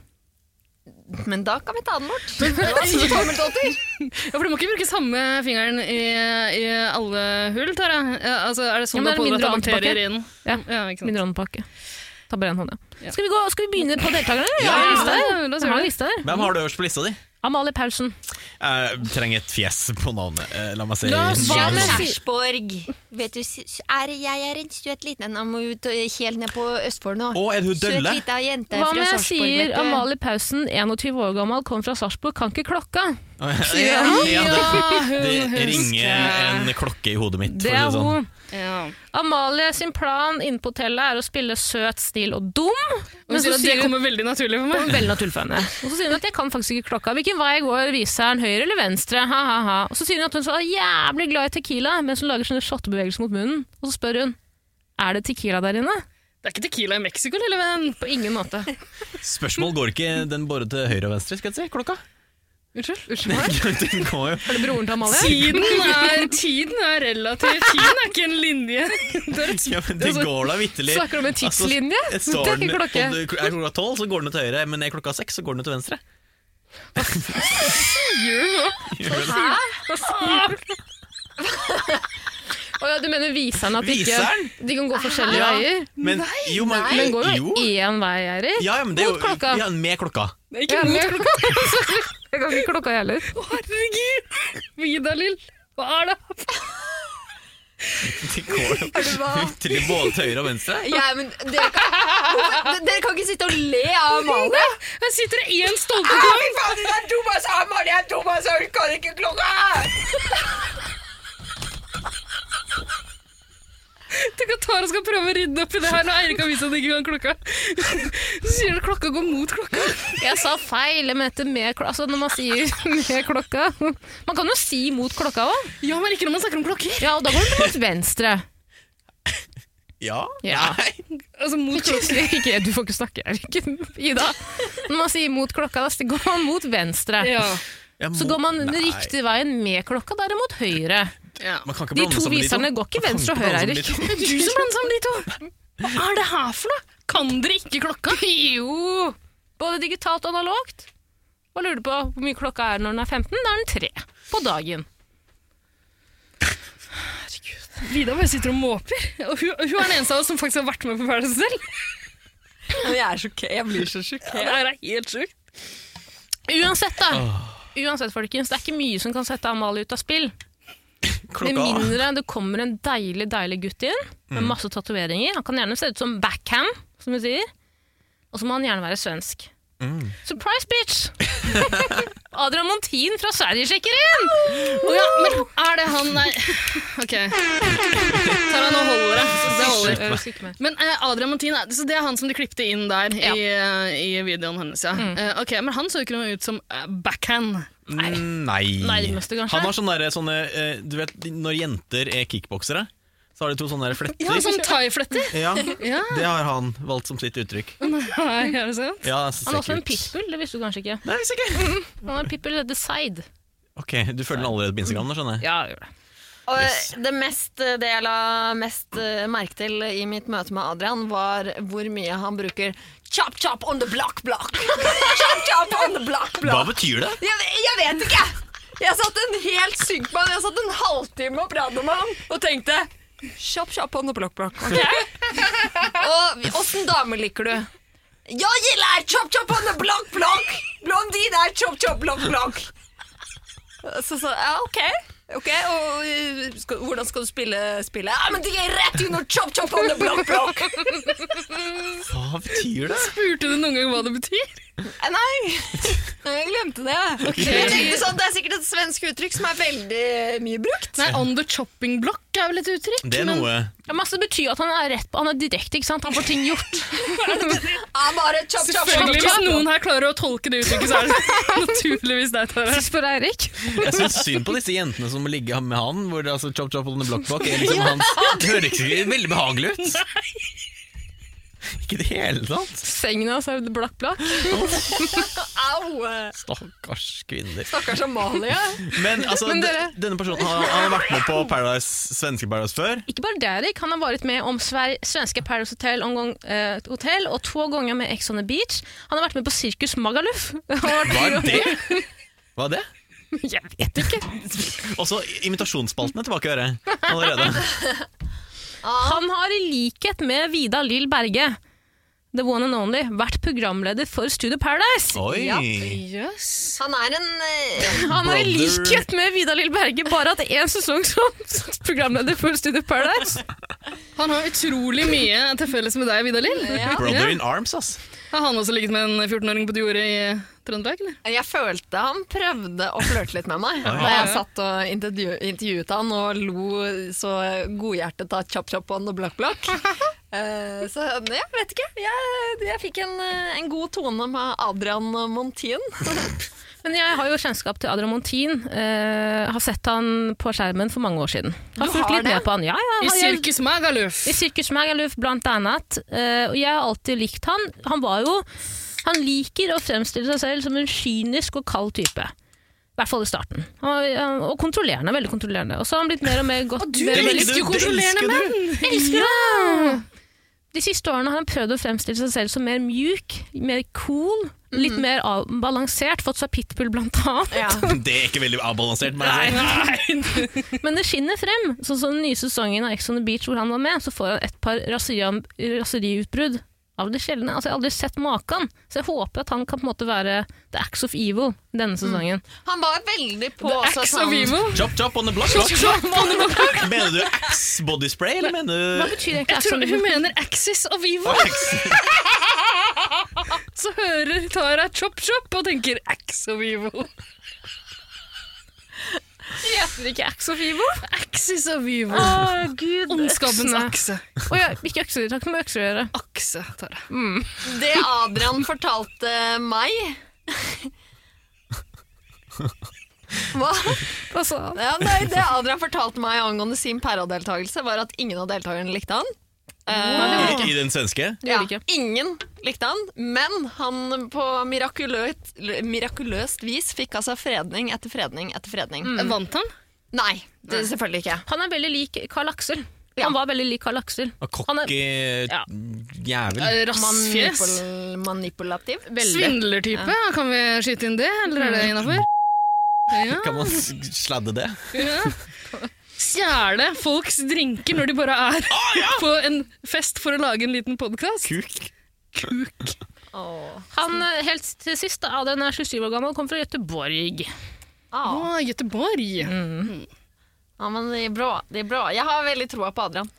B: Men da kan vi ta den bort. Det var mye tommeltotter.
E: Ja, for du må ikke bruke samme fingeren i, i alle hull, Tara. Ja, altså, er det
A: Ja,
E: sånn
A: men er
E: at
A: det
E: du
A: mindre
E: har bakterier
A: antibac?
E: inn?
A: Ja.
E: Ja, ikke sant.
A: Mindre åndepakke. Ta bare en hånd,
E: Ja.
A: ja. Skal vi, gå, skal vi begynne på deltakerne? eller? Jeg har en liste her.
E: Ja, la
A: Jeg
E: oss gjøre
A: har en
E: det.
A: liste her.
D: Hvem har du øverst på lista di?
A: Amalie Paulsen.
D: Eh, trenger et fjes på navnet. Eh, la meg se.
A: La oss-
B: Jan
A: men-
B: Kjærsborg. Vet du, s- er, jeg er en søt liten Han må ut og- helt ned på Østfold nå.
D: Å, er hun
B: Søt
D: dølle?
B: lita jente
A: Hva om
B: fra
A: jeg
B: Sarpsborg,
A: sier
B: vet du.
A: Amalie Paulsen, 21 år gammel, kom fra Sarpsborg, kan ikke klokka?
D: Ja, det,
E: hun
D: det ringer en klokke i hodet mitt. for
A: Det
D: å
A: er
D: si det sånn.
A: hun. Amalie sin plan inne på hotellet er å spille søt, snill og dum.
E: Hun
A: Men
E: sier
A: så
E: at det
A: sier hun
E: kommer veldig naturlig for meg.
A: veldig naturlig for henne. Og så sier hun at jeg kan faktisk ikke klokka. Hvilken vei går viseren? Høyre eller venstre? Ha, ha, ha. Og så sier hun at hun så er jævlig glad i tequila, mens hun lager sånne shottebevegelser mot munnen. Og så spør hun er det tequila der inne.
E: Det er ikke Tequila i Mexico, lille venn.
A: På ingen måte.
D: Spørsmål går ikke den både til høyre og venstre, skal jeg si. Klokka.
E: Unnskyld?
D: Den går jo.
A: Er det broren til Amalie?
E: Tiden er, tiden er relativt. Tiden er ikke en linje. Det er et
D: Ja, men det går da vitterlig.
A: Snakker om en tidslinje?
D: Altså,
A: Det
D: står
A: er
D: den,
A: ikke klokke.
D: om du- er klokka tolv, så går den til høyre, men er klokka seks, så går den til venstre.
B: Hæ?
A: Å ja, du mener viseren at de, ikke,
D: Viseren?
A: de kan gå forskjellige
D: Ja.
A: veier?
D: Men, jo, men,
A: Den går jo
D: jo.
A: én vei, Eirik.
D: Ja, ja, men det er jo,
A: Mot klokka.
D: ja, med klokka.
E: Det er
A: Jeg
E: ikke
A: er
E: mot
A: med. Jeg kan ikke klokka, jeg heller.
E: Herregud! Vidalil, hva er det?
D: Det går jo til både til høyre og venstre.
B: Ja, men dere kan, Hvorfor- dere kan ikke sitte og le av Amalie.
E: Her sitter det én stolpekopp! Tenk at Tara skal prøve å rydde opp i det her når Eirik har vist at han ikke kan klokka. Så sier han klokka går mot klokka.
A: Jeg sa feil. Jeg mente med klokka. Altså, når man sier med klokka Man kan jo si mot klokka òg.
E: Ja, men ikke når man snakker om klokker.
A: Ja, og da går det mot venstre.
D: Ja.
A: Ja.
D: Nei.
E: Altså mot klokka.
A: Ikke, du får ikke snakke, Erik. Ida. Når man sier mot klokka, da så går man mot venstre.
E: Ja.
D: Jeg
A: Så
D: må-
A: går man den
D: Nei.
A: riktige veien med klokka, derimot høyre.
E: ja.
D: Man kan ikke
A: De
D: blande
A: to
D: sammen de
A: viserne går ikke
D: Man kan
A: venstre og
D: ikke
A: høyre, Eirik.
D: blande sammen de to.
E: Det er du som blander sammen de to. Hva er det her for noe? Kan dere ikke klokka?
A: Jo! Både digitalt og analogt. Hva lurer du på hvor mye klokka er når den er 15? Da er den 3 på dagen.
E: Vida bare sitter og måper. Og hun, hun er den eneste av oss som faktisk har vært med på Paradise selv.
B: Jeg, er sjokkert, jeg blir så
E: Det
B: sjokkert.
E: her er helt sjukt.
A: Uansett, da. Uansett, folkens, det er ikke mye som kan sette Amalie ut av spill. Med
D: Klokka
A: mindre det kommer en deilig deilig gutt inn med masse tatoveringer. Han kan gjerne se ut som Backham, som vi sier. Og så må han gjerne være svensk.
D: Mm.
A: Surprise, bitch! Adrian Montin fra Sverige sjekker inn!
E: Å ja, men er det han Nei. Ok. Tara, nå holder det. Det holder.
A: Jeg husker ikke mer.
E: Men eh, Adrian Montin, er- så det er han som de klippte inn der i, eh, i videoen hennes, ja. Eh, ok, Men han så jo ikke noe ut som eh, backhand.
D: Mm, Nei.
A: Nærmeste, kanskje?
D: Han har sånne, der, sånne eh, Du vet når jenter er kickboksere, så har de to sånne der fletter.
E: Ja, sånn thaifletter.
D: Ja,
E: Ja.
D: Det har han valgt som sitt uttrykk.
E: Nei, er det sant?
D: Ja, så
A: Han
D: ser
A: er også en
D: kult.
A: pitbull, det visste du kanskje ikke.
D: Nei, så ikke.
A: Han er pitbull the side.
D: Ok, Du følger den allerede på Instagram? da, skjønner jeg
A: Ja, gjør det.
B: Og
D: Yes.
B: det, mest, det jeg la mest eh, merke til i mitt møte med Adrian, var hvor mye han bruker chop chop on the block block. chop chop on the block
D: Hva
B: block.
D: betyr det?
B: Jeg, jeg vet ikke! Jeg satt en helt syk med han, jeg satt en halvtime og pratet med han og tenkte Chop chop on the block block. ok? og åssen dame liker du? Jeg liker chop chop on the block block! Blondine er chop chop block block. Så sa ja, ok. Ok, og eh, skal, Hvordan skal du spille spillet? Ja, men de er rett under chop chop on the block block!
D: Hva betyr det?
E: Spurte du noen gang hva det betyr?
B: Eh, Nei, jeg glemte det. Jeg tenkte sånn, Det er sikkert et svensk uttrykk som er veldig mye brukt.
E: Nei, On the chopping block er vel et uttrykk?
D: Det er
E: men-
D: noe
A: Ja, masse betyr at han er rett på, han er direkte, ikke sant? Han får ting gjort.
B: Ja, bare chop, chop, chop,
E: Selvfølgelig, Hvis
B: chop.
E: noen her klarer å tolke det uttrykket, så er det naturligvis deg, Tara.
A: Spør Eirik.
D: Jeg syns synd på disse jentene som ligger med han. Hvor det, altså, chop chop on the block block er liksom hans Det høres ikke veldig behagelig ut. Ikke i det hele tatt.
A: Sengen hans er blakk blakk.
B: Au! eh,
D: Stakkars kvinner.
B: Stakkars Amalie.
D: Men altså,
A: Men dere-
D: de- denne personen har, han har vært med på Paradise, svenske Paradise før.
A: Ikke bare det, Erik. Han har vært med om Sver svenske Paradise Hotel, om gang, eh, Hotel og to ganger med Ex on the Beach. Han har vært med på Sirkus Magaluf. Han har vært-
D: Hva er det? Hva er det?
A: Jeg vet ikke.
D: Også imitasjonsspalten er tilbake i øret allerede.
A: Han har i likhet med Vida Lill Berge, the one and only, vært programleder for Studio Paradise.
D: Oi!
B: Ja.
E: Yes.
B: Han er en eh,
A: Han har i
D: brother.
A: likhet med Vida Lill Berge bare hatt én sesong som programleder for Studio Paradise.
E: Han har utrolig mye til felles med deg, Vidar Lill.
B: Ja.
D: Brother
E: Ja.
D: in arms, ass.
E: Har han også ligget med en 14-åring på et jorde i Trøndelag, eller?
B: Jeg følte han prøvde å flørte litt med meg da jeg satt og intervju intervjuet han og lo så godhjertet av chop chop on og blakk blakk. Eh, Så jeg vet ikke. Jeg, jeg fikk en, eh, en god tone med Adrian Montin.
A: Men jeg har jo kjennskap til Adrian Montin. Eh, har sett han på skjermen for mange år siden. Har
B: Du
A: fulgt
B: har
A: litt
B: det?
A: med på han. Ja, ja,
E: I
A: har- jeg-
E: Sirkus Magaluf.
A: I Sirkus Magaluf blant annet. eh, og jeg har alltid likt han. Han var jo Han liker å fremstille seg selv som en kynisk og kald type. I hvert fall i starten. Han var, han- og kontrollerende. Veldig kontrollerende. Og så har han blitt mer og mer godt
E: Du
A: mer og mer-
D: likte
E: elsker jo
D: du, det
E: kontrollerende
D: elsker du.
E: menn!
A: elsker det! De siste årene har han prøvd å fremstille seg selv som mer mjuk, mer cool, litt mer avbalansert. Fått seg pitbull, blant annet.
B: Ja.
D: Det er ikke veldig avbalansert. må jeg si.
A: Men det skinner frem. Sånn som den nye sesongen av Ex on the Beach hvor han var med, så får han et par raserian- raseriutbrudd av det sjeldne. Altså, jeg har aldri sett maken. Så jeg håper at han kan på en måte være the acts of evil
E: Mm.
A: denne sesongen.
B: Han var veldig på
E: The
B: også
E: Axe of
B: sånn-
E: Evil.
D: Chop chop on the block. block. Mener du axe body spray, eller mener
A: Hva
D: du
A: betyr egentlig
E: Jeg
A: acts
E: tror
A: on the
E: hun
A: beach?
E: mener Axis of Evil.
D: Axe.
E: Så hører Tara Chop Chop og tenker Axe of Evil.
A: Heter det ikke acts of evil?
E: Axis of Evil.
A: Å, gud.
E: Ondskapens
A: øksene.
E: akse.
A: Å ja, ikke økser. Takk med økser å gjøre.
E: Akse, Tara.
B: Det Adrian fortalte meg Hva?
A: Hva sa han?
B: Ja, nei, det Adrian fortalte meg angående sin Perra-deltakelse, var at ingen av deltakerne likte han. Eh,
D: I den svenske?
A: Det gjorde
B: ja,
A: ikke.
B: ingen likte han, men han på mirakuløst, mirakuløst vis fikk altså fredning etter fredning etter fredning.
A: Mm.
E: Vant han?
B: Nei, det, selvfølgelig ikke.
A: Han er veldig lik Carl Aksel.
B: Ja.
A: Han var veldig lik Carl Aksel.
D: Og
A: Han er-
D: Cocky
A: Ja.
E: Eh,
D: jævel.
E: Rassfjes?
B: Manipul manipulativ.
E: Svindlertype? Kan vi skyte inn det, eller
A: Mm.
E: er det innafor? Ja.
D: Kan man s- sladde det?
E: Ja. Stjele folks drinker når de bare er på en fest for å lage en liten podkast.
D: Kuk.
B: Åh.
A: Han,
E: Mm.
A: eh, helt til sist, da, Adrian er 27 år gammel, kom fra Göteborg.
B: Ah.
E: Å, Göteborg!
B: Ja, men det er bra. Det er bra. Jeg har veldig troa på Adrian.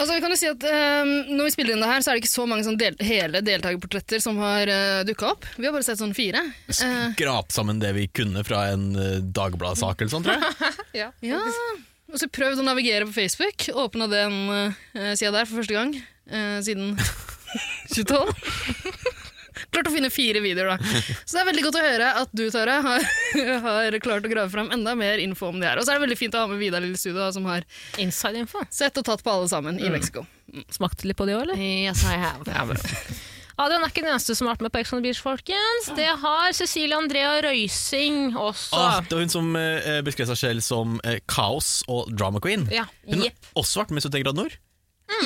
E: Altså, vi kan jo si at ehm, Når vi spiller inn det her, så er det ikke så mange sånn del hele deltakerportretter som har uh, dukka opp. Vi har bare sett sånn fire. Eh,
D: Skrap sammen det vi kunne fra en eh, Dagbladet-sak eller sånn, tror jeg.
E: ja. Og så prøvd å navigere på Facebook. Åpna den uh, sida der for første gang eh, siden 2012. Klart å finne fire videoer, da. Så det er veldig godt å høre at du, Tara, har, har klart å grave fram enda mer info om det her. Og så er det veldig fint å ha med Vidar Lille Studio, som har
A: Inside-info.
E: sett og tatt på alle sammen
B: Mm.
E: i Mexico.
A: Smakte litt på det òg, eller?
B: Yes, I have.
A: Adrian er ikke den eneste som har vært med på Ex on the Beach, folkens. Det har Cecilie Andrea Røising også.
D: Ah, det var hun som eh, beskrev seg selv som eh, kaos og drama queen.
A: Ja.
D: Hun har også vært med i 71 grader nord.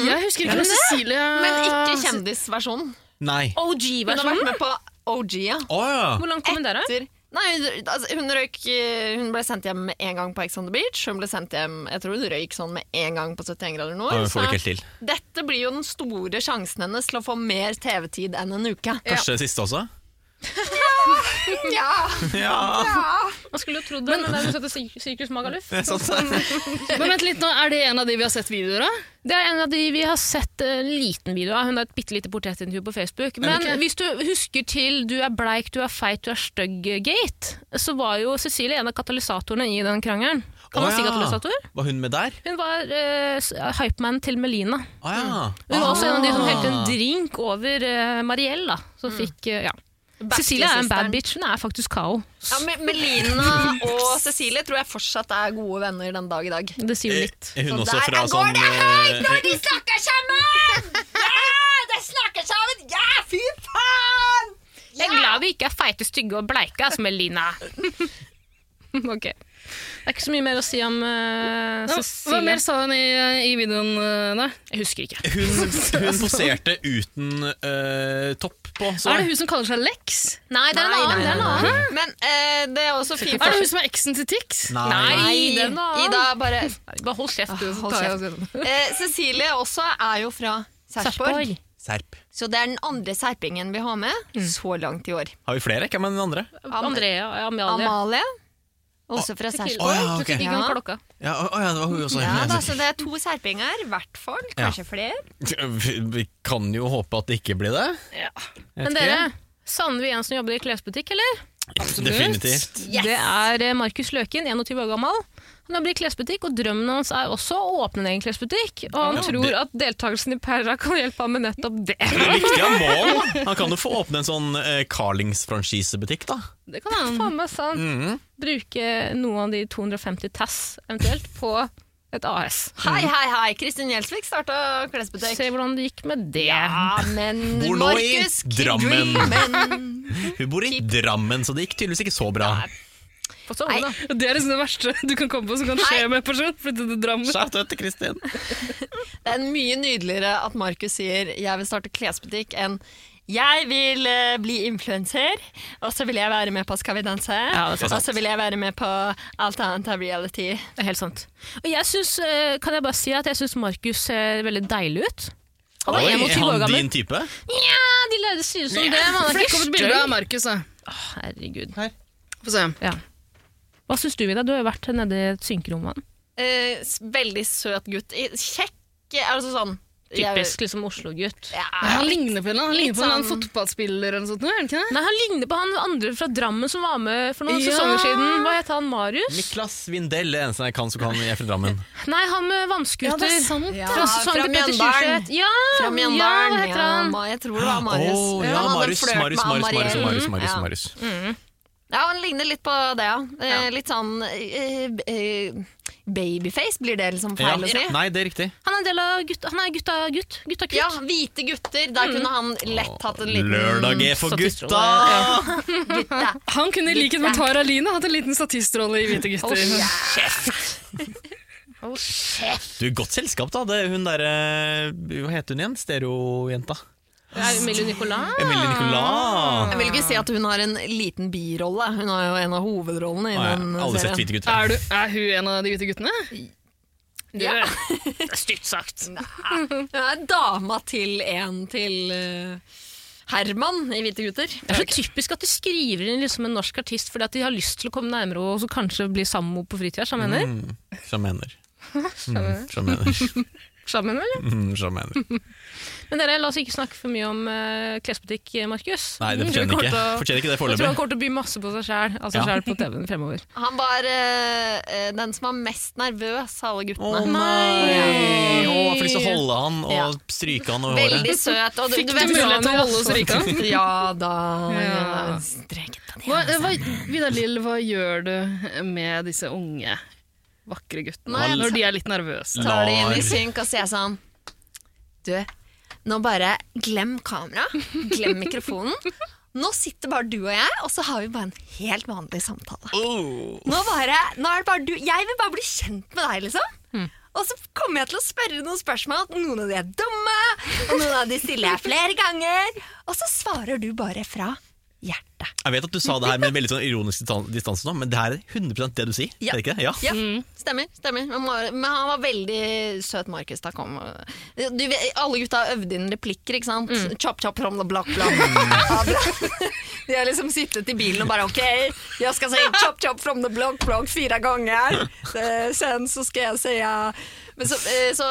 E: Jeg husker ikke om Cecilia
B: Mm. Men ikke kjendisversjonen.
D: Nei.
B: Hun har vært
A: OG-versjonen.
B: med på OG, ja.
D: Å ja!
A: Hvor langt kom hun der, da?
B: Etter- Nei, hun- altså, hun, røyk, eh, hun ble sendt hjem med en gang på Ex on the Beach. Hun ble sendt hjem, jeg tror hun røyk sånn med en gang på 71 grader nord.
D: Ja, hun får det
B: så
D: ikke helt til.
B: Dette blir jo den store sjansen hennes til å få mer TV-tid enn en uke.
D: Kanskje siste også?
B: Eh, Ja,
D: Ja!
A: Man skulle jo trodd det, men det er jo sånn at det er Sirkus Magaluf.
D: Det er sant, det.
E: Men vent litt nå, Er det en av de vi har sett videoer av?
A: Det er en av de vi har sett eh, en liten video av. Hun har et bitte lite portrettintervju på Facebook. Men
E: Ok.
A: hvis du husker til 'du er bleik, du er feit, du er stygg'-gate, så var jo Cecilie en av katalysatorene i den krangelen. Kan man
D: Å,
A: si
D: ja.
A: katalysator?
D: Var hun med der?
A: Hun var uh, hypeman til Melina.
D: Å ja.
A: Hun var også en av de som
D: Ah.
A: helte en drink over eh, Marielle, da, som fikk eh, ja. Cecilie er en bad bitch. Hun er faktisk Kao.
B: Ja, men Melina og Cecilie tror jeg fortsatt er gode venner den dag i dag.
A: Det sier jo
D: Er
A: litt.
D: er hun
B: Så
D: også
B: der
D: fra
B: går
D: sånn
B: det
D: eh,
B: de snakker sammen! Ja, de snakker sammen! Ja, fy faen!
A: Jeg er glad vi ikke er feite, stygge og bleike, altså, Melina. ok. Det er ikke så mye mer å si om eh,
E: Hva, hva
A: Cecilie.
E: mer sa hun i, i videoen, eh, da?
A: Jeg husker ikke.
D: hun, hun poserte uten eh, topp på. Så
E: Er det hun som kaller seg Lex?
A: Nei, det er en annen. det er en annen.
B: Men eh, det er også fint
E: Er det hun som er eksen til Tix?
D: Nei.
A: Nei, det er en annen.
B: Ida, bare
A: Bare hold kjeft, du.
B: Hold kjeft. Eh, Cecilie også er jo fra Sarpsborg,
A: Sarpsborg.
D: Serp.
B: så det er den andre serpingen vi har med
D: Mm.
B: så langt i år.
D: Har vi flere? Hvem er den andre?
A: Andrea og Amalie.
B: Amalie, også fra Sarpsborg.
D: Å, ja, ok.
A: Du fikk ikke om klokka.
D: Ja, å, å, ja, det var hun også.
B: Ja, da, så det er to serpinger, i hvert fall. Kanskje flere.
D: Vi- Vi kan jo håpe at det ikke blir det.
A: Men dere, savner vi en som jobber i klesbutikk, eller?
D: Definitivt.
A: Det er eh, Markus Løken, 21 år gammel. Han jobber i klesbutikk, og drømmen hans er også å åpne en egen klesbutikk. Og han
D: Ja,
A: tror
D: det-
A: at deltakelsen i Perra kan hjelpe ham med nettopp det.
D: Det er viktig av mål. Han kan jo få åpne en sånn eh, Carlings-franchisebutikk, da.
E: Det kan han.
A: Faen meg sant. Bruke noen av de 250 tass eventuelt på et AS.
D: Mm.
B: Hei, hei, hei! Kristin Gjelsvik starta klesbutikk.
A: Se hvordan det gikk med det.
B: Ja, men
D: Bor nå i
B: Markus
D: Drammen.
B: Dreamen.
D: Hun bor i Drammen, så det gikk tydeligvis ikke så bra.
A: Få sove,
B: Nei.
A: da.
E: Det er liksom det verste du kan komme på som kan skje med en person. Flytte til Drammen.
D: Shout out til Kristin.
B: Det er mye nydeligere at Markus sier 'jeg vil starte klesbutikk' enn 'jeg vil eh, bli influenser', og så vil jeg være med på 'Skal vi danse',
A: Ja, det er sant.
B: og så vil jeg være med på alt annet av reality.
A: Det er helt sant. Og jeg synes, eh, kan jeg bare si at jeg syns Markus ser veldig deilig ut. Han
D: Oi,
A: var
D: er
A: 21 år
D: han
A: gammel.
D: din type?
A: Ja, de lærde sier som det, men han er
E: Flekk
A: ikke
E: opp et bilde av
A: stygg.
E: Markus, da.
A: Herregud.
E: Få se.
A: Ja. Hva syns du, Vida? Du har jo vært nede i synkerommet med han.
B: Eh, s- veldig søt gutt. I- Kjekk eh, Altså sånn jeg-
A: Typisk liksom Oslo-gutt.
B: Ja.
E: Han ligner på en eller annen, han ligner på en eller annen
B: Litt sånn-
E: fotballspiller eller noe sånt. nå, Er han ikke det?
A: Nei, Han ligner på han andre fra Drammen som var med for noen
E: Ja.
A: sesonger siden. Hva het han? Marius?
D: Niklas Vindell er eneste jeg kan som kan jeg er fra Drammen.
A: Nei, han med vannskuter.
E: sant.
B: Ja,
A: Fra sesongen
B: fra
A: til Petter
B: Mjøndalen.
A: Sjurseth. Ja, ja,
B: Fra Mjøndalen.
A: hva
B: Ja,
A: heter han?
B: Ma- jeg tror det var Marius.
D: Å,
B: Han
D: ja,
B: hadde en
D: Marius,
B: flørt
D: Marius,
B: med
D: Marius, Marius, Marius,
B: Mariell.
D: Marius,
B: Ja. Mm,
D: Marius.
B: Ja, han ligner litt på det, ja. Eh, Litt sånn eh, eh, babyface, blir det liksom feil å si?
D: Ja. Nei, det er riktig.
A: Han er en del av gutta, han er gutta gutt. Gutta kutt.
B: Ja, hvite gutter. Der
E: Mm.
B: kunne han lett hatt en liten
D: Lørdag er for
A: Statistrolle.
D: gutta!
B: Gutta.
E: Han kunne i likhet med Tara Line hatt en liten statistrolle i Hvite gutter.
D: Du, godt selskap, da. Det er hun derre Hva heter hun igjen? Stereojenta.
A: Er Emilie Nicolas?
D: Emilie Nicolas.
B: Jeg vil ikke si at hun har en liten birolle. Hun har jo en av hovedrollene i
D: Å, ja.
B: den
D: Alle sett
B: serien.
D: hvite gutter.
E: Er, du, er hun en av de hvite guttene?
B: Ja.
A: Stygt sagt.
B: Hun er dama til en til eh, Herman i Hvite gutter.
A: Det er så typisk at de skriver inn liksom en norsk artist fordi at de har lyst til å komme nærmere og så kanskje bli sammen på fritida. Sjamener?
D: Mm, Sjamener. Mm, Sjamener.
A: Sjamener, eller?
D: Mm, sjamener.
A: Men dere, la oss ikke snakke for mye om eh, klesbutikk, eh, Markus.
D: Nei, det
A: Jeg tror han kommer
D: fortjener ikke,
A: til å-
D: fortjener ikke det
A: Jeg tror han
D: foreløpig.
A: kommer til å by masse på seg sjæl altså
D: Ja.
A: selv på TV-en fremover.
B: Han var eh, eh, den som var mest nervøs av alle
D: Å
B: guttene.
D: nei!
A: Nei.
D: Å, jeg fikk lyst til å holde han
B: Ja.
D: og stryke han over håret.
B: Veldig søt. Og
E: Fikk du
B: vet- sånn-
E: mulighet til å holde oss rike?
B: Ja da.
E: Ja.
B: Streket på
E: Hva, hva, Vidar Lill, hva gjør du med disse unge, vakre guttene
B: Nei,
E: når de er litt nervøse?
B: tar det inn i
D: Lar.
B: synk og sier sånn Du, nå bare glem kamera, glem mikrofonen. Nå sitter bare du og jeg, og så har vi bare en helt vanlig samtale.
D: Oh.
B: Nå, bare, nå er det bare du Jeg vil bare bli kjent med deg, liksom. Og så kommer jeg til å spørre noen spørsmål. Noen av de er dumme, og noen av de stiller jeg flere ganger. Og så svarer du bare fra hjertet.
D: Jeg vet at du sa det her med en veldig sånn ironisk distan- distanse nå, men det her er 100 det du sier.
B: Ja.
D: Er det ikke det? Ja.
B: Ja,
A: Mm.
B: stemmer. stemmer. Men, Mar- men han var veldig søt, Markus. Da kom du, vet- Alle gutta øvde inn replikker, ikke sant?
A: Mm.
B: Chop, chop, from the block, bla, bla, bla. De har liksom sittet i bilen og bare OK, jeg skal si chop, chop, from the block, block fire ganger. Eh, Sen så skal jeg si ja. Men så, eh, så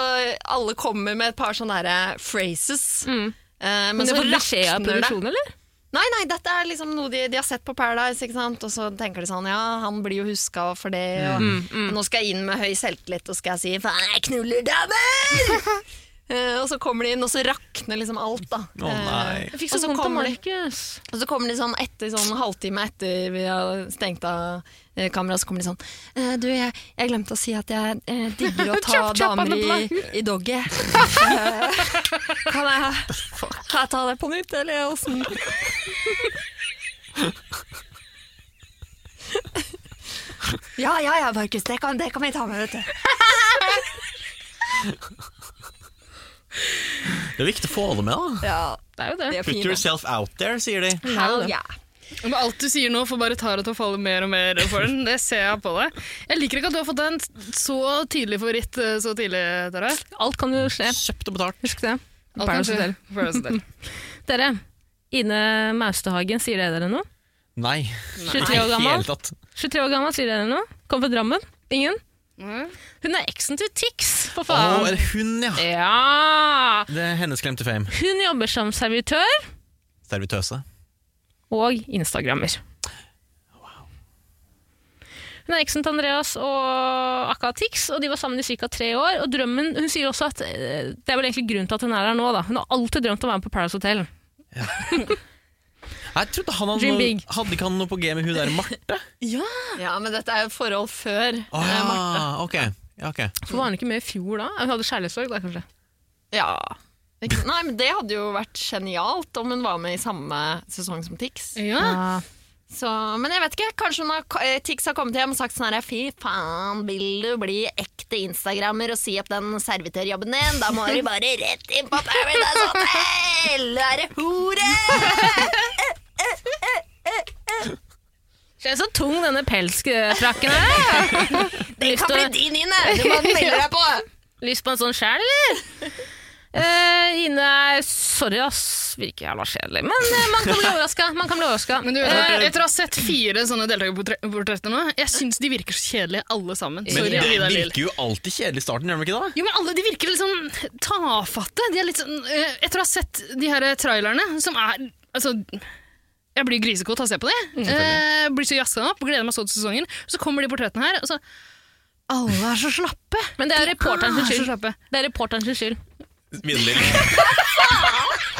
B: alle kommer med et par sånne derre phrases. Eh, Men,
A: Mm. Men det
B: så
A: får beskjed av
B: rakner det.
A: produksjonen, eller?
B: Nei, nei, dette er liksom noe de, de har sett på Paradise, ikke sant? Og så tenker de sånn, ja, han blir jo huska for det, og
D: Mm,
B: nå skal jeg inn med høy selvtillit, og skal jeg si, faen, jeg knuller damer! Eh, og så kommer de inn, og så rakner liksom alt, da.
D: Å, nei.
B: Eh,
A: Jeg fikk
B: og
A: så
B: så
A: vondt av
B: kommer de-
A: Altså, Markus.
B: og så kommer de sånn etter sånn halvtime etter vi har stengt av eh, kameraet, så kommer de sånn «Eh, Du, jeg, jeg glemte å si at jeg eh, digger å ta
A: Chop, chop on
B: damer
A: the
B: i, i doggy. Eh, kan, jeg, kan jeg sånn? ta det på nytt, eller åssen? Ja, ja, ja, Markus. Det kan, det kan vi ta med, vet du.
D: Det er viktig å få det med, da.
B: Ja,
A: Det er jo
B: de
A: det.
B: er
D: Put
B: fine.
D: yourself out there, sier de.
B: Hell yeah.
E: Men alt du sier nå får bare Tara til å falle mer og mer for den. Det ser jeg på deg. Jeg liker ikke at du har fått deg en så tydelig favoritt eh, så tidlig, Tara.
A: Alt kan jo skje.
D: Kjøpt og betalt.
A: Husk det.
E: Alt kan
A: Paradise
E: skje.
A: Hotel.
E: Paradise Hotel.
A: Dere, Ine Maustehagen, sier det dere noe?
D: Nei,
A: 23 år
D: i hele
A: gammel.
D: tatt.
A: 23 år gammel, sier dere noe? Kom fra Drammen? Ingen?
E: Nei.
A: Hun er eksen til Tix, for
D: Å,
A: faen.
D: er det hun, ja?
A: Ja!
D: Det er hennes glemte fame.
A: Hun jobber som servitør
D: Servitøse.
A: og instagrammer. Hun er eksen til Andreas og Akka Tix, og de var sammen i ca. tre år. Og drømmen, Hun sier også at eh, det er vel egentlig grunnen til at hun er her nå. da. Hun har alltid drømt om å være med på Paradise Hotel.
D: Jeg trodde han hadde,
A: Dream
D: noe,
A: big.
D: hadde ikke han noe på G med hun der Marte?
B: Ja, men dette er jo forhold før. eh,
D: Å ja, Ah, ok. Ja, ok.
A: For Var hun ikke med i fjor da? Hun hadde kjærlighetssorg da, kanskje.
B: Ja. Ikke, nei, men Det hadde jo vært genialt om hun var med i samme sesong som Tix.
E: Ja.
B: Så, men jeg vet ikke, kanskje hun har, eh, Tix har kommet hjem og sagt sånn her Fy faen, vil du bli ekte instagrammer og si opp den servitørjobben din? Da må du bare rett inn på Paradise Hotel! Du er en hore!
A: Se så tung denne pelsfrakken er!
B: Det kan bli din, Ine! Du må melde deg på!
A: Lyst på en sånn sjæl, eller? Eh, Ine er Sorry, ass. Virker jævla kjedelig. Men eh, man kan bli overraska. Man kan bli overraska.
E: Men du, eh, etter å ha sett fire sånne deltakerportretter nå, jeg syns de virker så kjedelige alle sammen.
D: Men
E: Sorry,
D: det
E: Vidar Lill.
D: virker jo alltid kjedelig i starten, gjør det ikke det?
E: Jo, men alle de virker litt sånn tafatte. De er litt sånn, eh, etter å ha sett de her eh, trailerne, som er Altså, jeg blir grisekåt av å se på de. Eh, blir så jazza opp, gleder meg så til sesongen. Så kommer de portrettene her, og så Alle er så slappe!
A: Men det er reporteren sin
E: er så
A: skyld.
E: slappe.
A: Det er reporteren sin skyld.
D: Videre,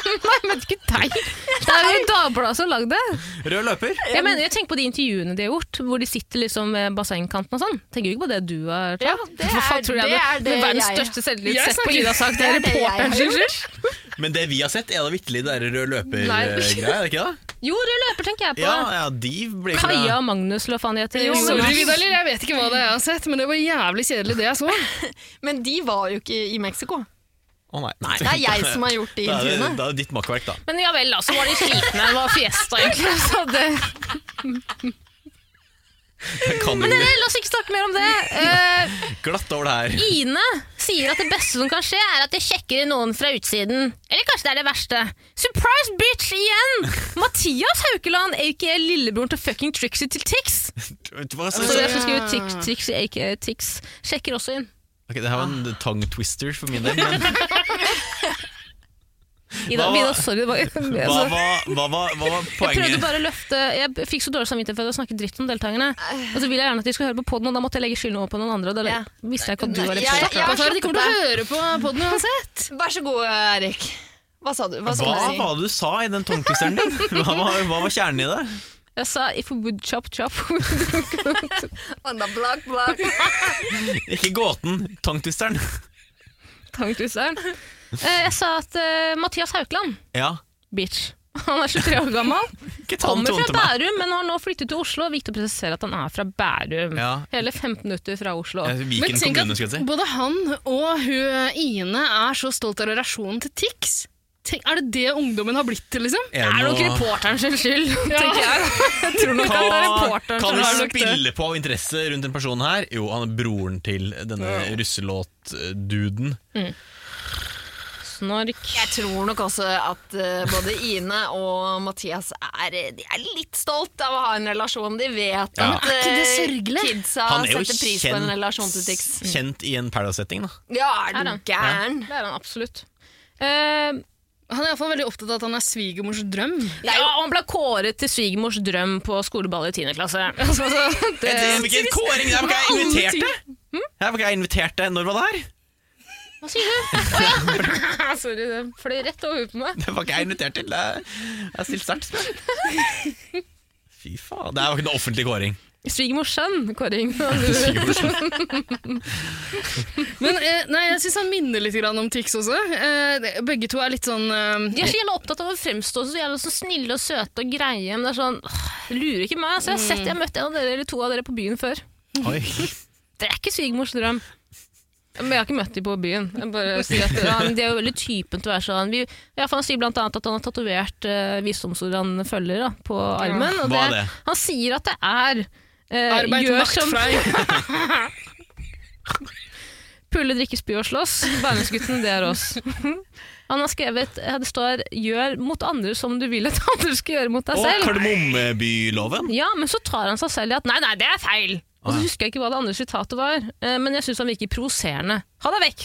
A: Nei, men ikke deg! Det er jo Dagbladet som har lagd det.
D: Rød løper.
A: Jeg, mener, jeg tenker på de intervjuene de har gjort, hvor de sitter liksom ved bassengkanten og sånn. Tenker jo ikke på det du har tatt.
B: Ja, det
A: Hva faen
B: er-
A: tror jeg
B: det
A: hadde-
B: er det
A: Med verdens
B: jeg-
A: største selvtillit
E: Jeg
A: sett på
E: snakker-
A: Ida sak, det
B: det
A: er
B: er det jeg
A: reporteren sin
B: har
A: skyld.
D: Men det vi har sett, er da vitterlig det der rød
A: Nei.
D: løper-greia, er det ikke det?
A: Jo, rød løper tenker jeg på.
D: Ja, ja, de blir ikke
A: Kaja og Magnus, eller hva faen de heter.
E: Jo,
A: Jonas.
E: Sorry, Vidar Lill, jeg vet ikke hva det er jeg har sett, men det var jævlig kjedelig, det jeg så.
B: Men de var jo ikke i Mexico.
D: Å nei. nei.
B: Det er jeg som har gjort de
D: Da er det,
B: intervjuene.
D: da er det ditt makkverk, da.
A: Men ja vel, da, så var de slitne. Det var fiesta, egentlig. Så det...
D: Jeg kan
A: Men
D: jo
A: dere, la oss ikke snakke mer om det. Eh,
D: glatt over det her.
A: Ine sier at det beste som kan skje, er at jeg sjekker inn noen fra utsiden. Eller kanskje det er det verste. Surprise, bitch! Igjen! Mathias Haukeland, aka lillebroren til fucking Trixie til Tix.
D: Hva
A: Så
D: slags-
A: jeg som skriver Tix, Trixie, aka Tix, eh, sjekker også inn.
D: Ok, det her var en tongue twister for min del. Men
A: Ida,
D: Hva var-
A: Ida, sorry. Det var,
D: hva
A: altså,
D: var, hva var, hva var
A: jeg prøvde
D: poenget?
A: bare å løfte Jeg fikk så dårlig samvittighet for å snakke dritt om deltakerne. Og så ville jeg gjerne at de skulle høre på podden, og da måtte jeg legge skylden over på noen andre. Og da
B: Ja.
A: visste jeg ikke at du var
B: Nei,
A: litt
B: jeg-
A: stakk.
B: jeg-
E: Hva sa du? De kommer til å høre på podden uansett.
B: Vær så god, Erik. Hva sa du? Hva
D: Hva
B: skal du si?
D: var det du sa i den tongue twisteren din? Hva var, hva var kjernen i det?
A: Jeg sa 'if we would chop chop'.
B: On the block, block.
D: Ikke gåten, tongue twisteren.
A: Tanktuseren. Eh, Jeg sa at eh, Mathias Haukeland,
D: Ja.
A: bitch. Han er 23 år gammel.
D: Ikke ta
A: Kommer
D: den tonen
A: fra
D: til meg.
A: Bærum, men har nå flyttet til Oslo. Viktig å presisere at han er fra Bærum.
D: Ja.
A: Hele 15 minutter fra Oslo.
D: Eh, Viken
E: tenk
D: kommune, skal
E: at
D: jeg si.
E: både han og hun Ine er så stolt av relasjonen til Tix. Tenk, er det det ungdommen har blitt til, liksom?
A: Det er nok
D: noe-
A: reporteren sin skyld, tenker jeg. Jeg tror nok at det er
D: Hva
A: reporteren
D: kan
A: som har
D: vi
A: nok det.
D: spille på av interesse rundt en person her? Jo, han er broren til denne russelåt-duden.
A: Snork.
B: Jeg tror nok også at eh, både Ine og Mathias er, eh, de er litt stolt av å ha en relasjon. De vet
D: Ja.
E: Men
B: at
E: er ikke det
B: eh,
E: sørgelig?
B: kidsa
D: Han er jo
B: setter pris på en Mm.
D: kjent-
B: relasjon til Tix.
D: Kjent i en Paradise-setting, da.
B: Ja, er
A: Er
B: du
A: han?
B: gæren?
A: Det er han absolutt. Eh,
E: Han er iallfall veldig opptatt av at han er svigermors drøm.
A: ja, og han ble kåret til svigermors drøm på skoleballet i 10. klasse. Altså, det-
D: Det er ikke en Eh, kåring! Det er ikke jeg inviterte! Her var ikke jeg inviterte. Når var det her?
A: Hva sier du? Å ja! Sorry, det fløy rett over huet på meg.
D: Det var ikke jeg invitert til. Det er- Jeg har stilt sterkt spørsmål. Fy faen. Det er jo ikke noe offentlig kåring.
A: Svigermors sønn, Kåring.
E: Men eh, nei, jeg syns han minner litt grann om Tix også. Eh, det- begge to er litt sånn eh,
A: De er så jævla opptatt av å fremstå så jævla så snille og søte og greie, men det er sånn åh, Lurer ikke meg. Så jeg har sett, jeg har møtt en av dere eller to av dere på byen før.
D: Oi.
A: Det er ikke svigermors drøm. Men jeg har ikke møtt dem på byen. Jeg bare sier at ja, men De er jo veldig typen til å være sånn. Vi, ja, for han sier blant annet at han har tatovert uh, visdomsordet han følger da, på armen. Og
D: Hva er det?
A: Han sier at det er eh,
E: arbeid til
A: gjør
E: makt
A: som
E: fra
A: Pulle, drikke, spy og slåss. Bærumsgutten, det er oss. Han har skrevet eh, Det står 'gjør mot andre som du vil at andre skal gjøre mot deg
D: Og
A: selv'.
D: Kardemommebyloven.
A: Ja, Men så tar han seg selv i at 'nei, nei, det er feil'. Og
D: Ah,
A: så
D: ja.
A: husker jeg ikke hva det andre sitatet var, eh, men jeg syns han virker provoserende. Ha deg vekk!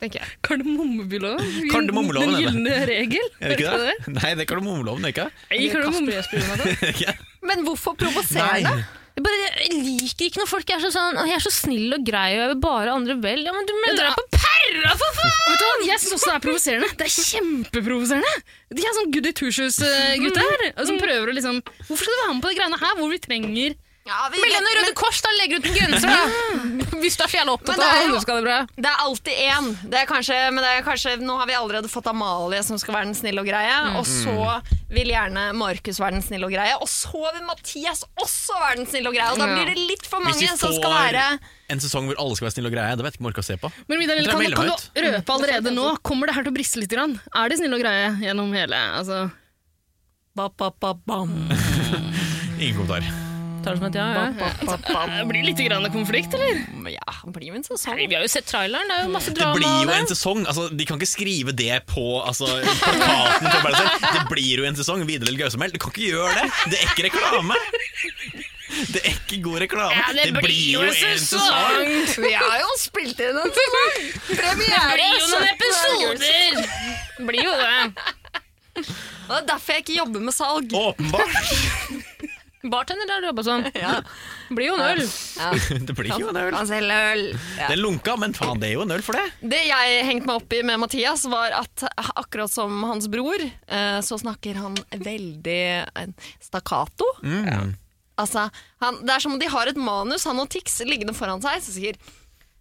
A: tenker jeg.
E: Kardemommebyloven.
D: Kardemommeloven,
E: Den
D: er det.
E: gylne regel.
D: Er det ikke
E: Vet du
D: det? Nei, det er kardemommeloven, det er ikke
E: Nei, kardemomme-
D: det?
B: Men hvorfor provoserende?
A: Jeg, bare, jeg liker ikke når folk er så sånn «Å, 'jeg er så snill og grei og jeg vil bare andre vel'. Ja, men du melder deg på perra, for faen!
E: Vet du hva, Jeg syns også det er provoserende. Det er kjempeprovoserende! De er sånn goody two-shoes-gutter
D: Mm.
E: som prøver å liksom Hvorfor skal du være med på de greiene her hvor vi trenger
B: Ja, vi
A: Meld deg under
B: vet-
A: Røde Kors, da! Legger ut en genser, da! Hvis du er så jævla
B: Men
A: opptatt
B: det
A: av
B: er jo-
A: andre skal det bra.
B: Det er alltid én. Det er kanskje, men det er kanskje, nå har vi allerede fått Amalie som skal være den snille og greie, og så vil gjerne Markus være den snille og greie, og så vil Mathias også være den snille og greie, og da
E: Ja.
B: blir det litt for
D: Hvis
B: mange
D: vi
B: som skal være
D: får en sesong hvor alle skal være snille og greie, da vet jeg ikke om jeg orker å se på.
E: Men Vidar,
D: Det er
E: kan,
D: veldig
E: kan
D: høyt.
E: du røpe allerede nå? Kommer det her til å briste litt? Grann? Er de snille og greie gjennom hele altså,
B: ba, ba, ba, bam.
D: Ingen kommentar.
A: Tar det som et ja, ja.
B: Ba, ba, ba,
E: Det blir litt grann konflikt, eller?
B: bam. Ja, det blir jo en sånn sesong.
A: Nei, Vi har jo sett traileren, det er jo masse
D: Det
A: drama.
D: blir jo
A: av
D: en sesong. Altså, de kan ikke skrive det på altså, plakaten. på Paradise Hotel. Det blir jo en sesong. Vidar Lill Gausmel, du kan ikke gjøre det! Det er ikke reklame! Det er ikke god reklame.
A: Ja, det blir jo en sesong.
B: Vi har jo spilt inn en sesong! Premiere!
A: Det blir jo sånn- noen
B: 17. august.
A: episoder! sånn- Det blir jo det.
B: Og det er derfor jeg ikke jobber med salg.
D: Åpenbart!
A: Bartender har du jobba som.
B: Ja.
A: Det blir jo en øl.
D: Det blir jo en øl.
B: Han selger øl. Altså, Ja.
D: Den lunka, men faen, det er jo en øl for det.
B: Det jeg hengte meg opp i med Mathias, var at akkurat som hans bror, eh, så snakker han veldig eh, stakkato.
D: Mm.
B: Altså, han, det er som om de har et manus, han og Tix, liggende foran seg, som sier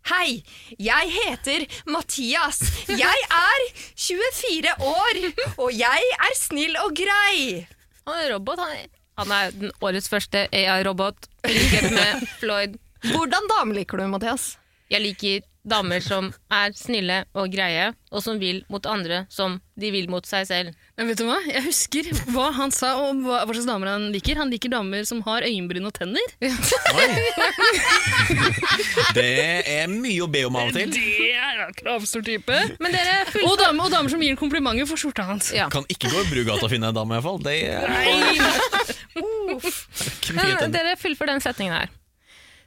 B: Hei, jeg heter Mathias. Jeg er 24 år, og jeg er snill og grei.
A: Han er robot. Han er, han er den årets første AI-robot. I likhet med Floyd.
B: Hvordan dame liker du, Mathias?
A: Jeg liker damer som er snille og greie, og som vil mot andre som de vil mot seg selv.
E: Men vet du hva? Jeg husker hva han sa om hva, hva slags damer han liker. Han liker damer som har øyenbryn og tenner.
D: Oi. Det er mye å be om av og til.
E: Det er en kravstor type.
A: Men dere full...
E: Og damer, og damer som gir komplimenter for skjorta hans.
A: Ja.
D: Kan ikke gå i Brugata og finne en dame, iallfall. Det er ikke mye
A: Men
D: tenner.
A: dere fullfører den setningen her.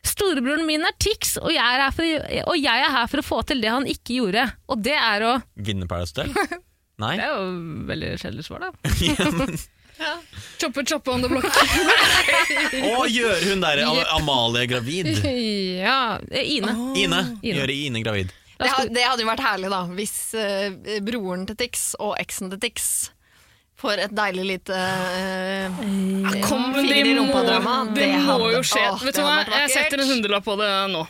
A: Storebroren min er Tix, og jeg er, her for, og jeg er her for å få til det han ikke gjorde. Og det er å
D: Vinne Paradise Hotel? Nei?
A: Det er jo veldig kjedelig svar, da.
D: Ja, men-
E: Choppe, choppe on the block.
D: Å, gjør hun der Am- Amalie gravid?
A: Ja, eh, Ine.
D: Ah, Ine.
A: Ine.
D: Gjøre Ine gravid.
A: La
B: Det,
A: oss
B: ha- det hadde jo vært herlig, da, hvis eh, broren til Tix og eksen til Tix får et deilig lite eh,
E: Kom, men
B: Finger
E: det
B: i
E: må,
B: rumpa-drømma,
E: det
B: det
E: må
B: hadde-
E: jo skje.
B: Åh,
E: vet
B: det
E: du hva?
B: hadde vært
E: Jeg setter en
B: vakkert.
E: hundrelapp på det nå.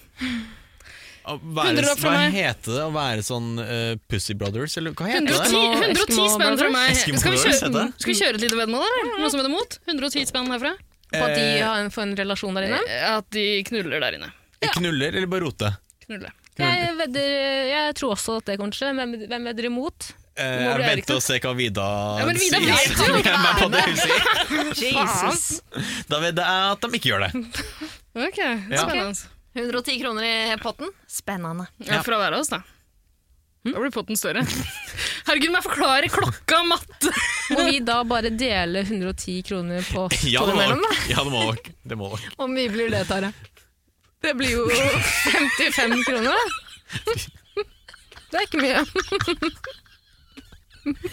D: Å være-
E: Hundrelapp fra
D: Hva
E: meg.
D: heter det å være sånn eh, Pussy Brothers, eller hva heter det?
E: 110, 110 spenn fra meg.
D: Eskimo
E: Skal vi,
D: Brothers, heter
E: kjøre,
D: det?
E: skal vi kjøre et lite veddemål, eller? Noe som heter mot? 110 spenn herfra?
A: på at de har en, får en relasjon der inne.
E: Eh, At de knuller der inne.
D: Knuller eller bare rote?
E: Knulle.
A: Jeg, vedder, jeg tror også at det kommer til å skje. Hvem, hvem vedder imot?
D: Eh,
E: Nå
D: jeg
E: ble jeg
D: venter og ser hva Vida
E: Ja, men Vida
D: sier.
E: vet jo
D: Jeg er med på det hun sier.
B: Jesus!
D: Da vet jeg at de ikke gjør det.
E: Ok, spennende.
B: 110 kroner i potten. Spennende.
E: Ja, for å være oss, da. Da blir potten større. Herregud, må jeg forklare klokka, matte!
A: Må vi da bare dele 110 kroner på
D: Ja, det må
A: mellom,
D: nok. Ja, det må nok. Det må nok.
B: Hvor mye blir det, Tare?
A: Det blir jo 55 kroner, da. Det er ikke mye.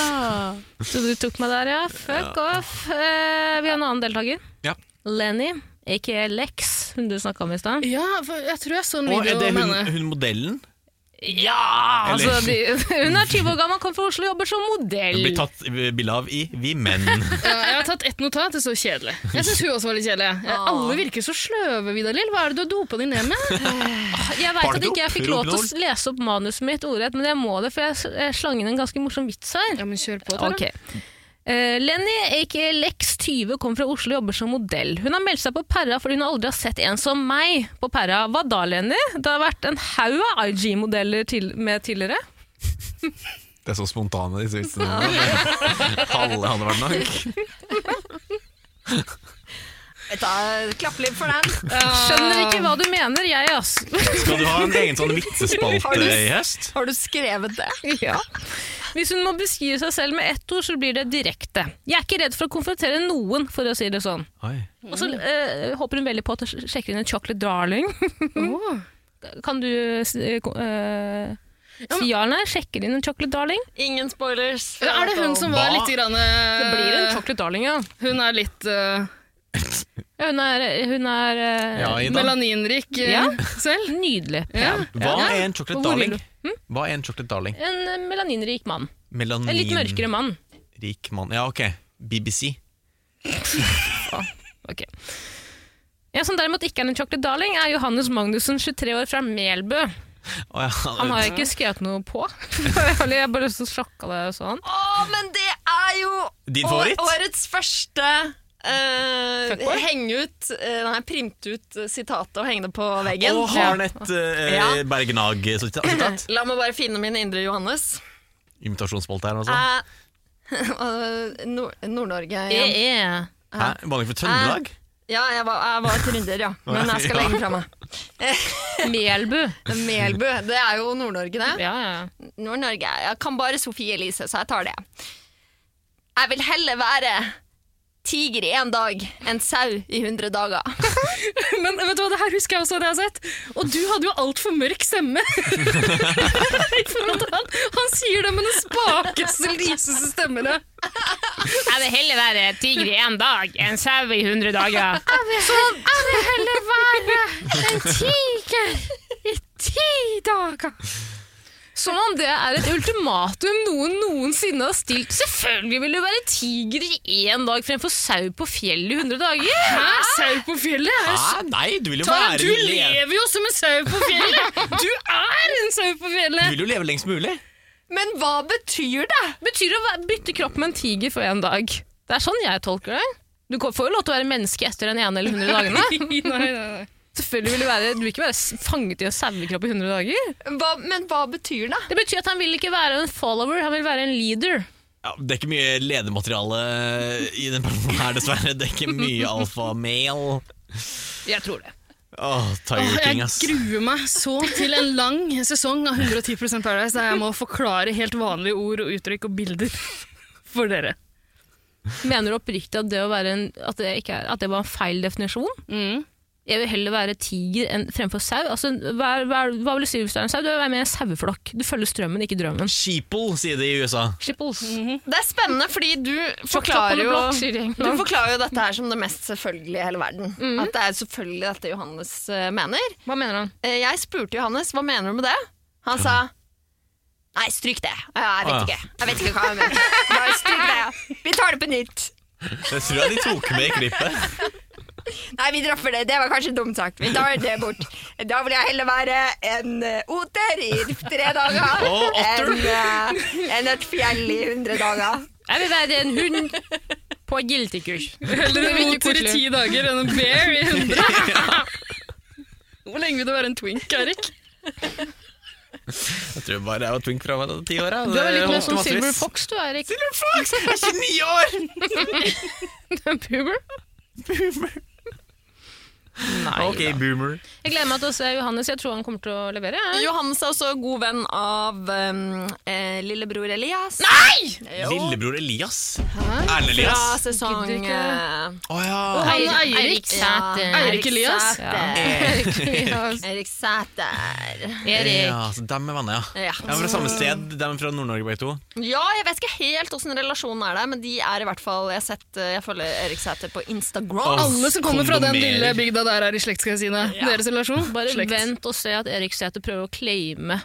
A: Ah, Så du tok meg der, ja. Fuck off. Eh, vi har en annen deltaker.
D: Ja.
A: Lenny, aka Lex, hun du snakka om i stad.
E: Ja, for jeg tror jeg så en
D: Og er
E: video
D: det
E: om
D: hun,
E: henne.
D: hun modellen?
A: Ja!
D: Eller-
A: Altså, de, hun er 20 år gammel, kommer fra Oslo og jobber som
D: Hun blir
A: modell.
D: tatt bilde av i Vi menn.
E: Ja, jeg har tatt ett notat, det står kjedelig. Jeg syns hun også var litt kjedelig. jeg.
B: Ah.
E: Alle virker så sløve, Vidar Lill. Hva er det du har dopa de ned med?
A: Jeg veit at ikke jeg fikk lov til å
D: Barnedop,
A: lese opp manuset mitt ordrett, men jeg må det, for jeg s- jeg slang inn en ganske morsom vits her.
E: Ja, men kjør på,
A: Ok. Eh, Lenny, aka Lex 20, kom fra Oslo og jobber som modell. Hun har meldt seg på Perra fordi hun aldri har sett en som meg på Perra. Hva da, Lenny? Det har vært en haug av IG-modeller til, med tidligere.
D: Det er så spontane, disse vitsene. Halve hadde vært nok.
B: Jeg tar Klappeliv for den.
A: Skjønner ikke hva du mener, jeg, ass.
D: Skal du ha en egen sånn vitsespalte i høst?
B: Har du skrevet det?
A: ja. Hvis hun må beskrive seg selv med ett ord, så blir det direkte. Jeg er ikke redd for å konfrontere noen, for å si det sånn.
D: Oi.
A: Og så eh, håper hun veldig på at hun sjekker inn en chocolate darling.
E: Åh.
A: Kan du eh, si ja eller nei? Sjekker inn en chocolate darling?
B: Ingen spoilers.
E: Ja, Er det hun som var
D: Hva?
E: litt grann,
A: Det blir en
E: eh,
A: chocolate darling, ja.
E: Hun er litt eh,
A: Ja, Hun er, hun er eh,
D: Ja, Ida.
E: melaninrik eh,
A: Ja.
E: selv.
A: nydelig.
E: Ja.
A: pen.
D: Hva er en chocolate
A: Hvor vil
D: darling?
A: du?
D: Hva er en chocolate darling?
A: En eh, melaninrik mann.
D: Melanin...
A: En litt mørkere mann.
D: Rik mann. Ja, ok. BBC.
A: Ok. En som derimot ikke er en chocolate darling, er Johannes Magnussen, 23 år, fra Melbu.
D: Å, ja.
A: Han har jeg ikke skrevet noe på. Eller jeg bare så sjokka det sånn.
B: Å, men det er jo
D: Din
B: å-
D: favoritt?
B: årets første eh,
A: Fuckboy?
B: henge ut eh, Nei, printe ut eh, sitatet og henge det på veggen.
D: Og har han et eh,
B: Ja.
D: Bergenag-sitat?
B: La meg bare finne min indre Johannes.
D: Imitasjonsspalte her, altså.
B: Eh, Nord- Nord-Norge igjen.
A: E, Yeah.
D: Hæ? Var det ikke fra Trøndelag?
B: Ja, jeg var, jeg var trønder, ja. Men jeg skal legge fra meg.
A: Melbu.
B: Melbu, det er jo Nord-Norge, det.
A: Ja, ja.
B: Nord-Norge. Jeg kan bare Sofie Elise, så jeg tar det. Jeg vil heller være tiger i én dag enn sau i 100 dager.
E: Men vet du hva, det her husker jeg også at jeg har sett. Og du hadde jo altfor mørk stemme. I forhold til han, han sier det med den spakeste, lyseste stemmen. ja.
A: Jeg vil heller være tiger i én dag enn sau i 100 dager. Jeg vil, heller være en tiger i ti dager. Som om det er et ultimatum noen noensinne har stilt. Selvfølgelig vil du være tiger i én dag fremfor sau på fjellet i 100 dager.
E: Hæ? Sau på fjellet?
A: Eh,
E: er jo s-
D: Hæ? Nei, du vil jo
E: Tara,
D: være
E: du lever jo som en sau på fjellet! Du er en sau på
D: Du
E: fjellet!
D: vil jo leve lengst mulig.
B: Men hva betyr det?
A: Betyr det å væ- bytte kropp med en tiger for én dag? Det er sånn jeg tolker det. Du får jo lov til å være menneske etter den ene eller 100 dagene.
E: Nei, nei, nei.
A: Selvfølgelig vil du, være, du vil ikke være s- fanget i en sauekropp i 100 dager.
B: Hva, men hva betyr det?
A: Det betyr at han vil ikke være en follower, han vil være en leader.
D: Ja, det er ikke mye ledermateriale i den personen her, dessverre. Det er ikke mye alfamel.
A: Jeg tror det.
D: Åh, Tiger
E: Åh,
D: King,
E: jeg
D: ass.
E: gruer meg så til en lang sesong av 110 Paradise, der jeg må forklare helt vanlige ord og uttrykk og bilder for dere.
A: Mener du oppriktig at det, å være en, at, det ikke er, at det var en feil definisjon?
E: Mm.
A: Jeg vil heller være tiger enn fremfor sau. Altså, hva, er- hva, er- hva vil du si hvis du er en sau? Du vil være med i en saueflokk. Du følger strømmen, ikke drømmen.
D: Sheeple, sier de i USA.
A: Shipples.
B: Det er spennende, fordi du forklarer jo du forklarer jo dette her som det mest selvfølgelige i hele verden. At det er selvfølgelig dette Johannes eh, mener.
A: Hva mener han?
B: Eh, jeg spurte Johannes hva mener du med det. Han sa Nei, stryk det. Ja, Jeg vet
D: Å, ja.
B: ikke Jeg vet ikke hva jeg mener. Nei, stryk det. ja. Vi tar det på nytt.
D: Det tror jeg de tok med i klippet.
B: Nei, vi dropper det. Det var kanskje dumt sagt. Vi tar det bort. Da vil jeg heller være en eh, oter i tre dager
D: Og otter.
B: enn eh, enn et fjell i hundre dager.
A: Jeg vil være en hund på giltekurs.
E: Heller en
A: veldig
E: oter i
A: koselig.
E: ti dager enn en bear i 100. Hvor lenge vil du være en twink, Erik?
D: Jeg tror bare jeg var twink fra meg da ti år.
A: Du er litt mer som sånn Silver Fox, du, Erik.
D: Silver Fox! Jeg er 29 år!
A: Boomer.
D: Boomer.
A: Nei,
D: ok, boomer.
A: Jeg gleder meg til å se Johannes. Jeg tror han kommer til å levere. jeg.
B: Johannes er også god venn av um, eh, lillebror Elias. Nei!
D: Lillebror Elias. Erlend
B: Fra
D: Elias.
B: sesong
A: Gidder ikke.
B: eh,
D: Å ja.
E: Han
A: Eirik-
E: Eirik
A: Sæther.
B: ja,
E: Eirik Elias.
B: Sæther.
E: altså,
A: Elias.
B: Eirik Sæter.
A: Erik.
D: Ja, så dem er venner, ja.
B: Ja.
D: De er fra samme sted, de er fra Nord-Norge begge to.
B: ja, jeg vet ikke helt åssen relasjonen er der, men de er i hvert fall Jeg, har sett, eh, jeg følger Erik Sæter på Instagram.
D: Åh.
E: Alle som kommer fra den
D: Kondomerer.
E: lille bygda der, er i slekt, skal jeg si deg. Deres relasjon?
A: Bare
E: slekt.
A: vent og se at Erik Sæther prøver å claime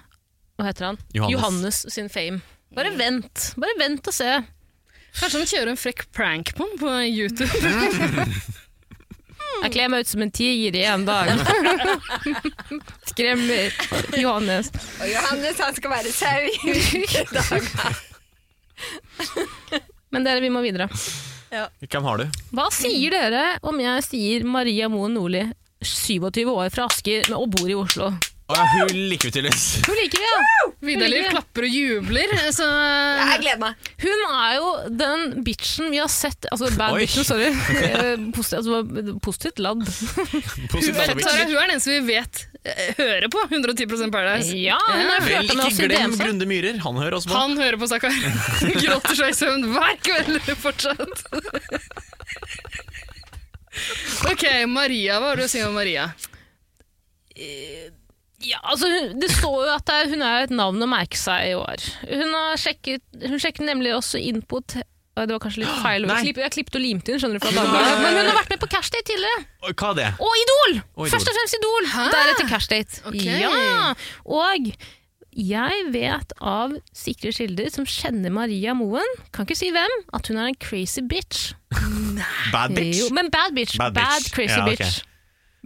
A: Hva heter han?
D: Johannes.
A: sin fame. Bare vent. Bare vent og se.
E: Kanskje han kjører en frekk prank på han på YouTube?
A: Jeg kler meg ut som en tiger i en dag. Skremmer Johannes.
B: Og Johannes han skal være sau i hvilke dager.
A: Men dere, vi må videre.
D: Hvem har du?
A: Hva sier dere om jeg sier Maria Moen Nordli, 27 år fra Asker men- og bor i Oslo?
D: Å ja, hun liker vi tydeligvis.
A: Hun liker vi, ja!
E: Vidar-Liv klapper og jubler, så
B: Jeg gleder meg.
A: Hun er jo den bitchen vi har sett Altså bad
D: Oi.
A: bitchen, sorry. Eh, Positivt, altså, positivt ladd.
D: Positiv
E: Tara,
D: Davids.
E: Tara, hun er den som vi vet eh, hører på 110 Paradise.
A: Ja, hun har
D: Vel,
A: flørta med oss
D: ikke
A: i
D: glem
A: DM. så.
D: Grunde Myhrer. Han hører oss på.
E: Han hører på, stakkar. Gråter seg i søvn hver kveld fortsatt. Ok, Maria. Hva har du å si om Maria?
A: Ja, altså, hun- det står jo at det er- hun er et navn å merke seg i år. Hun, har sjekket, hun sjekket nemlig også inn på te- Oi, Det var kanskje litt feil. ord.
D: Nei.
A: Klipp- Jeg har klippet og limt inn, skjønner du. fra Dagbladet. Men hun har vært med på Cashdate tidligere.
D: Oi, Hva er det?
A: Og Idol!
D: Og Idol.
A: Først og fremst Idol. Deretter Cashdate.
E: Ok.
A: Ja. Og jeg vet av sikre kilder som kjenner Maria Moen, kan ikke si hvem, at hun er en crazy bitch.
D: Bad bitch?
A: Jo, men bad bitch.
D: Bad
A: Bad,
D: bitch.
A: crazy
D: Ja, ok.
A: bitch.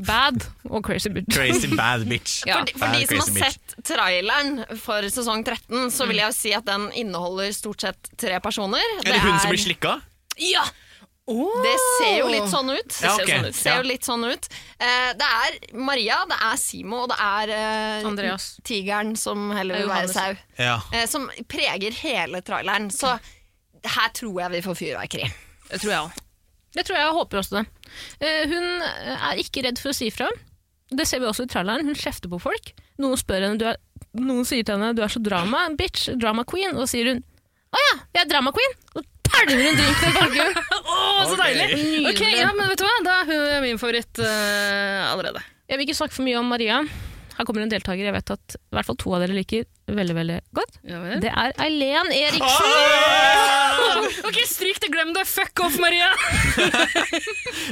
A: Bad og crazy bitch.
D: Crazy bad bitch.
A: Ja.
B: For, de- for de
D: Bad
B: som har
D: crazy bitch.
B: sett traileren for sesong 13, så
A: Mm.
B: vil jeg jo si at den inneholder stort sett tre personer.
D: Er det hun som blir slikka?
B: Ja! Det ser jo litt sånn ut.
D: Ja,
B: Det ser jo
D: ok.
B: sånn ut. Ser
D: Ja.
B: jo litt sånn ut. Eh, det er Maria, det er Simo, og det er eh,
A: Andreas.
B: tigeren som heller vil
A: Det er
B: være
A: Johannes.
B: sau.
D: Ja.
B: eh, som preger hele traileren. Så her tror jeg vi får fyrverkeri.
A: Det tror jeg òg. Det tror jeg, jeg håper også det. Eh, hun er ikke redd for å si fra. Det ser vi også i traileren. Hun kjefter på folk. Noen, spør henne, du er, noen sier til henne 'du er så drama, bitch, drama queen', og sier hun 'å ja, jeg er drama queen'. Og pælmer hun drink med kalkun.
E: Å, så deilig!
A: Nydelig.
E: Ok, ja, men vet du hva? Da er hun min favoritt eh, allerede.
A: Jeg vil ikke snakke for mye om Maria. Her kommer en deltaker jeg vet at i hvert fall to av dere liker veldig veldig godt.
E: Ja
A: Det er Eileen Eriksen.
D: Ah!
E: Ok, stryk det, glem det. Fuck off, Maria!
D: Jeg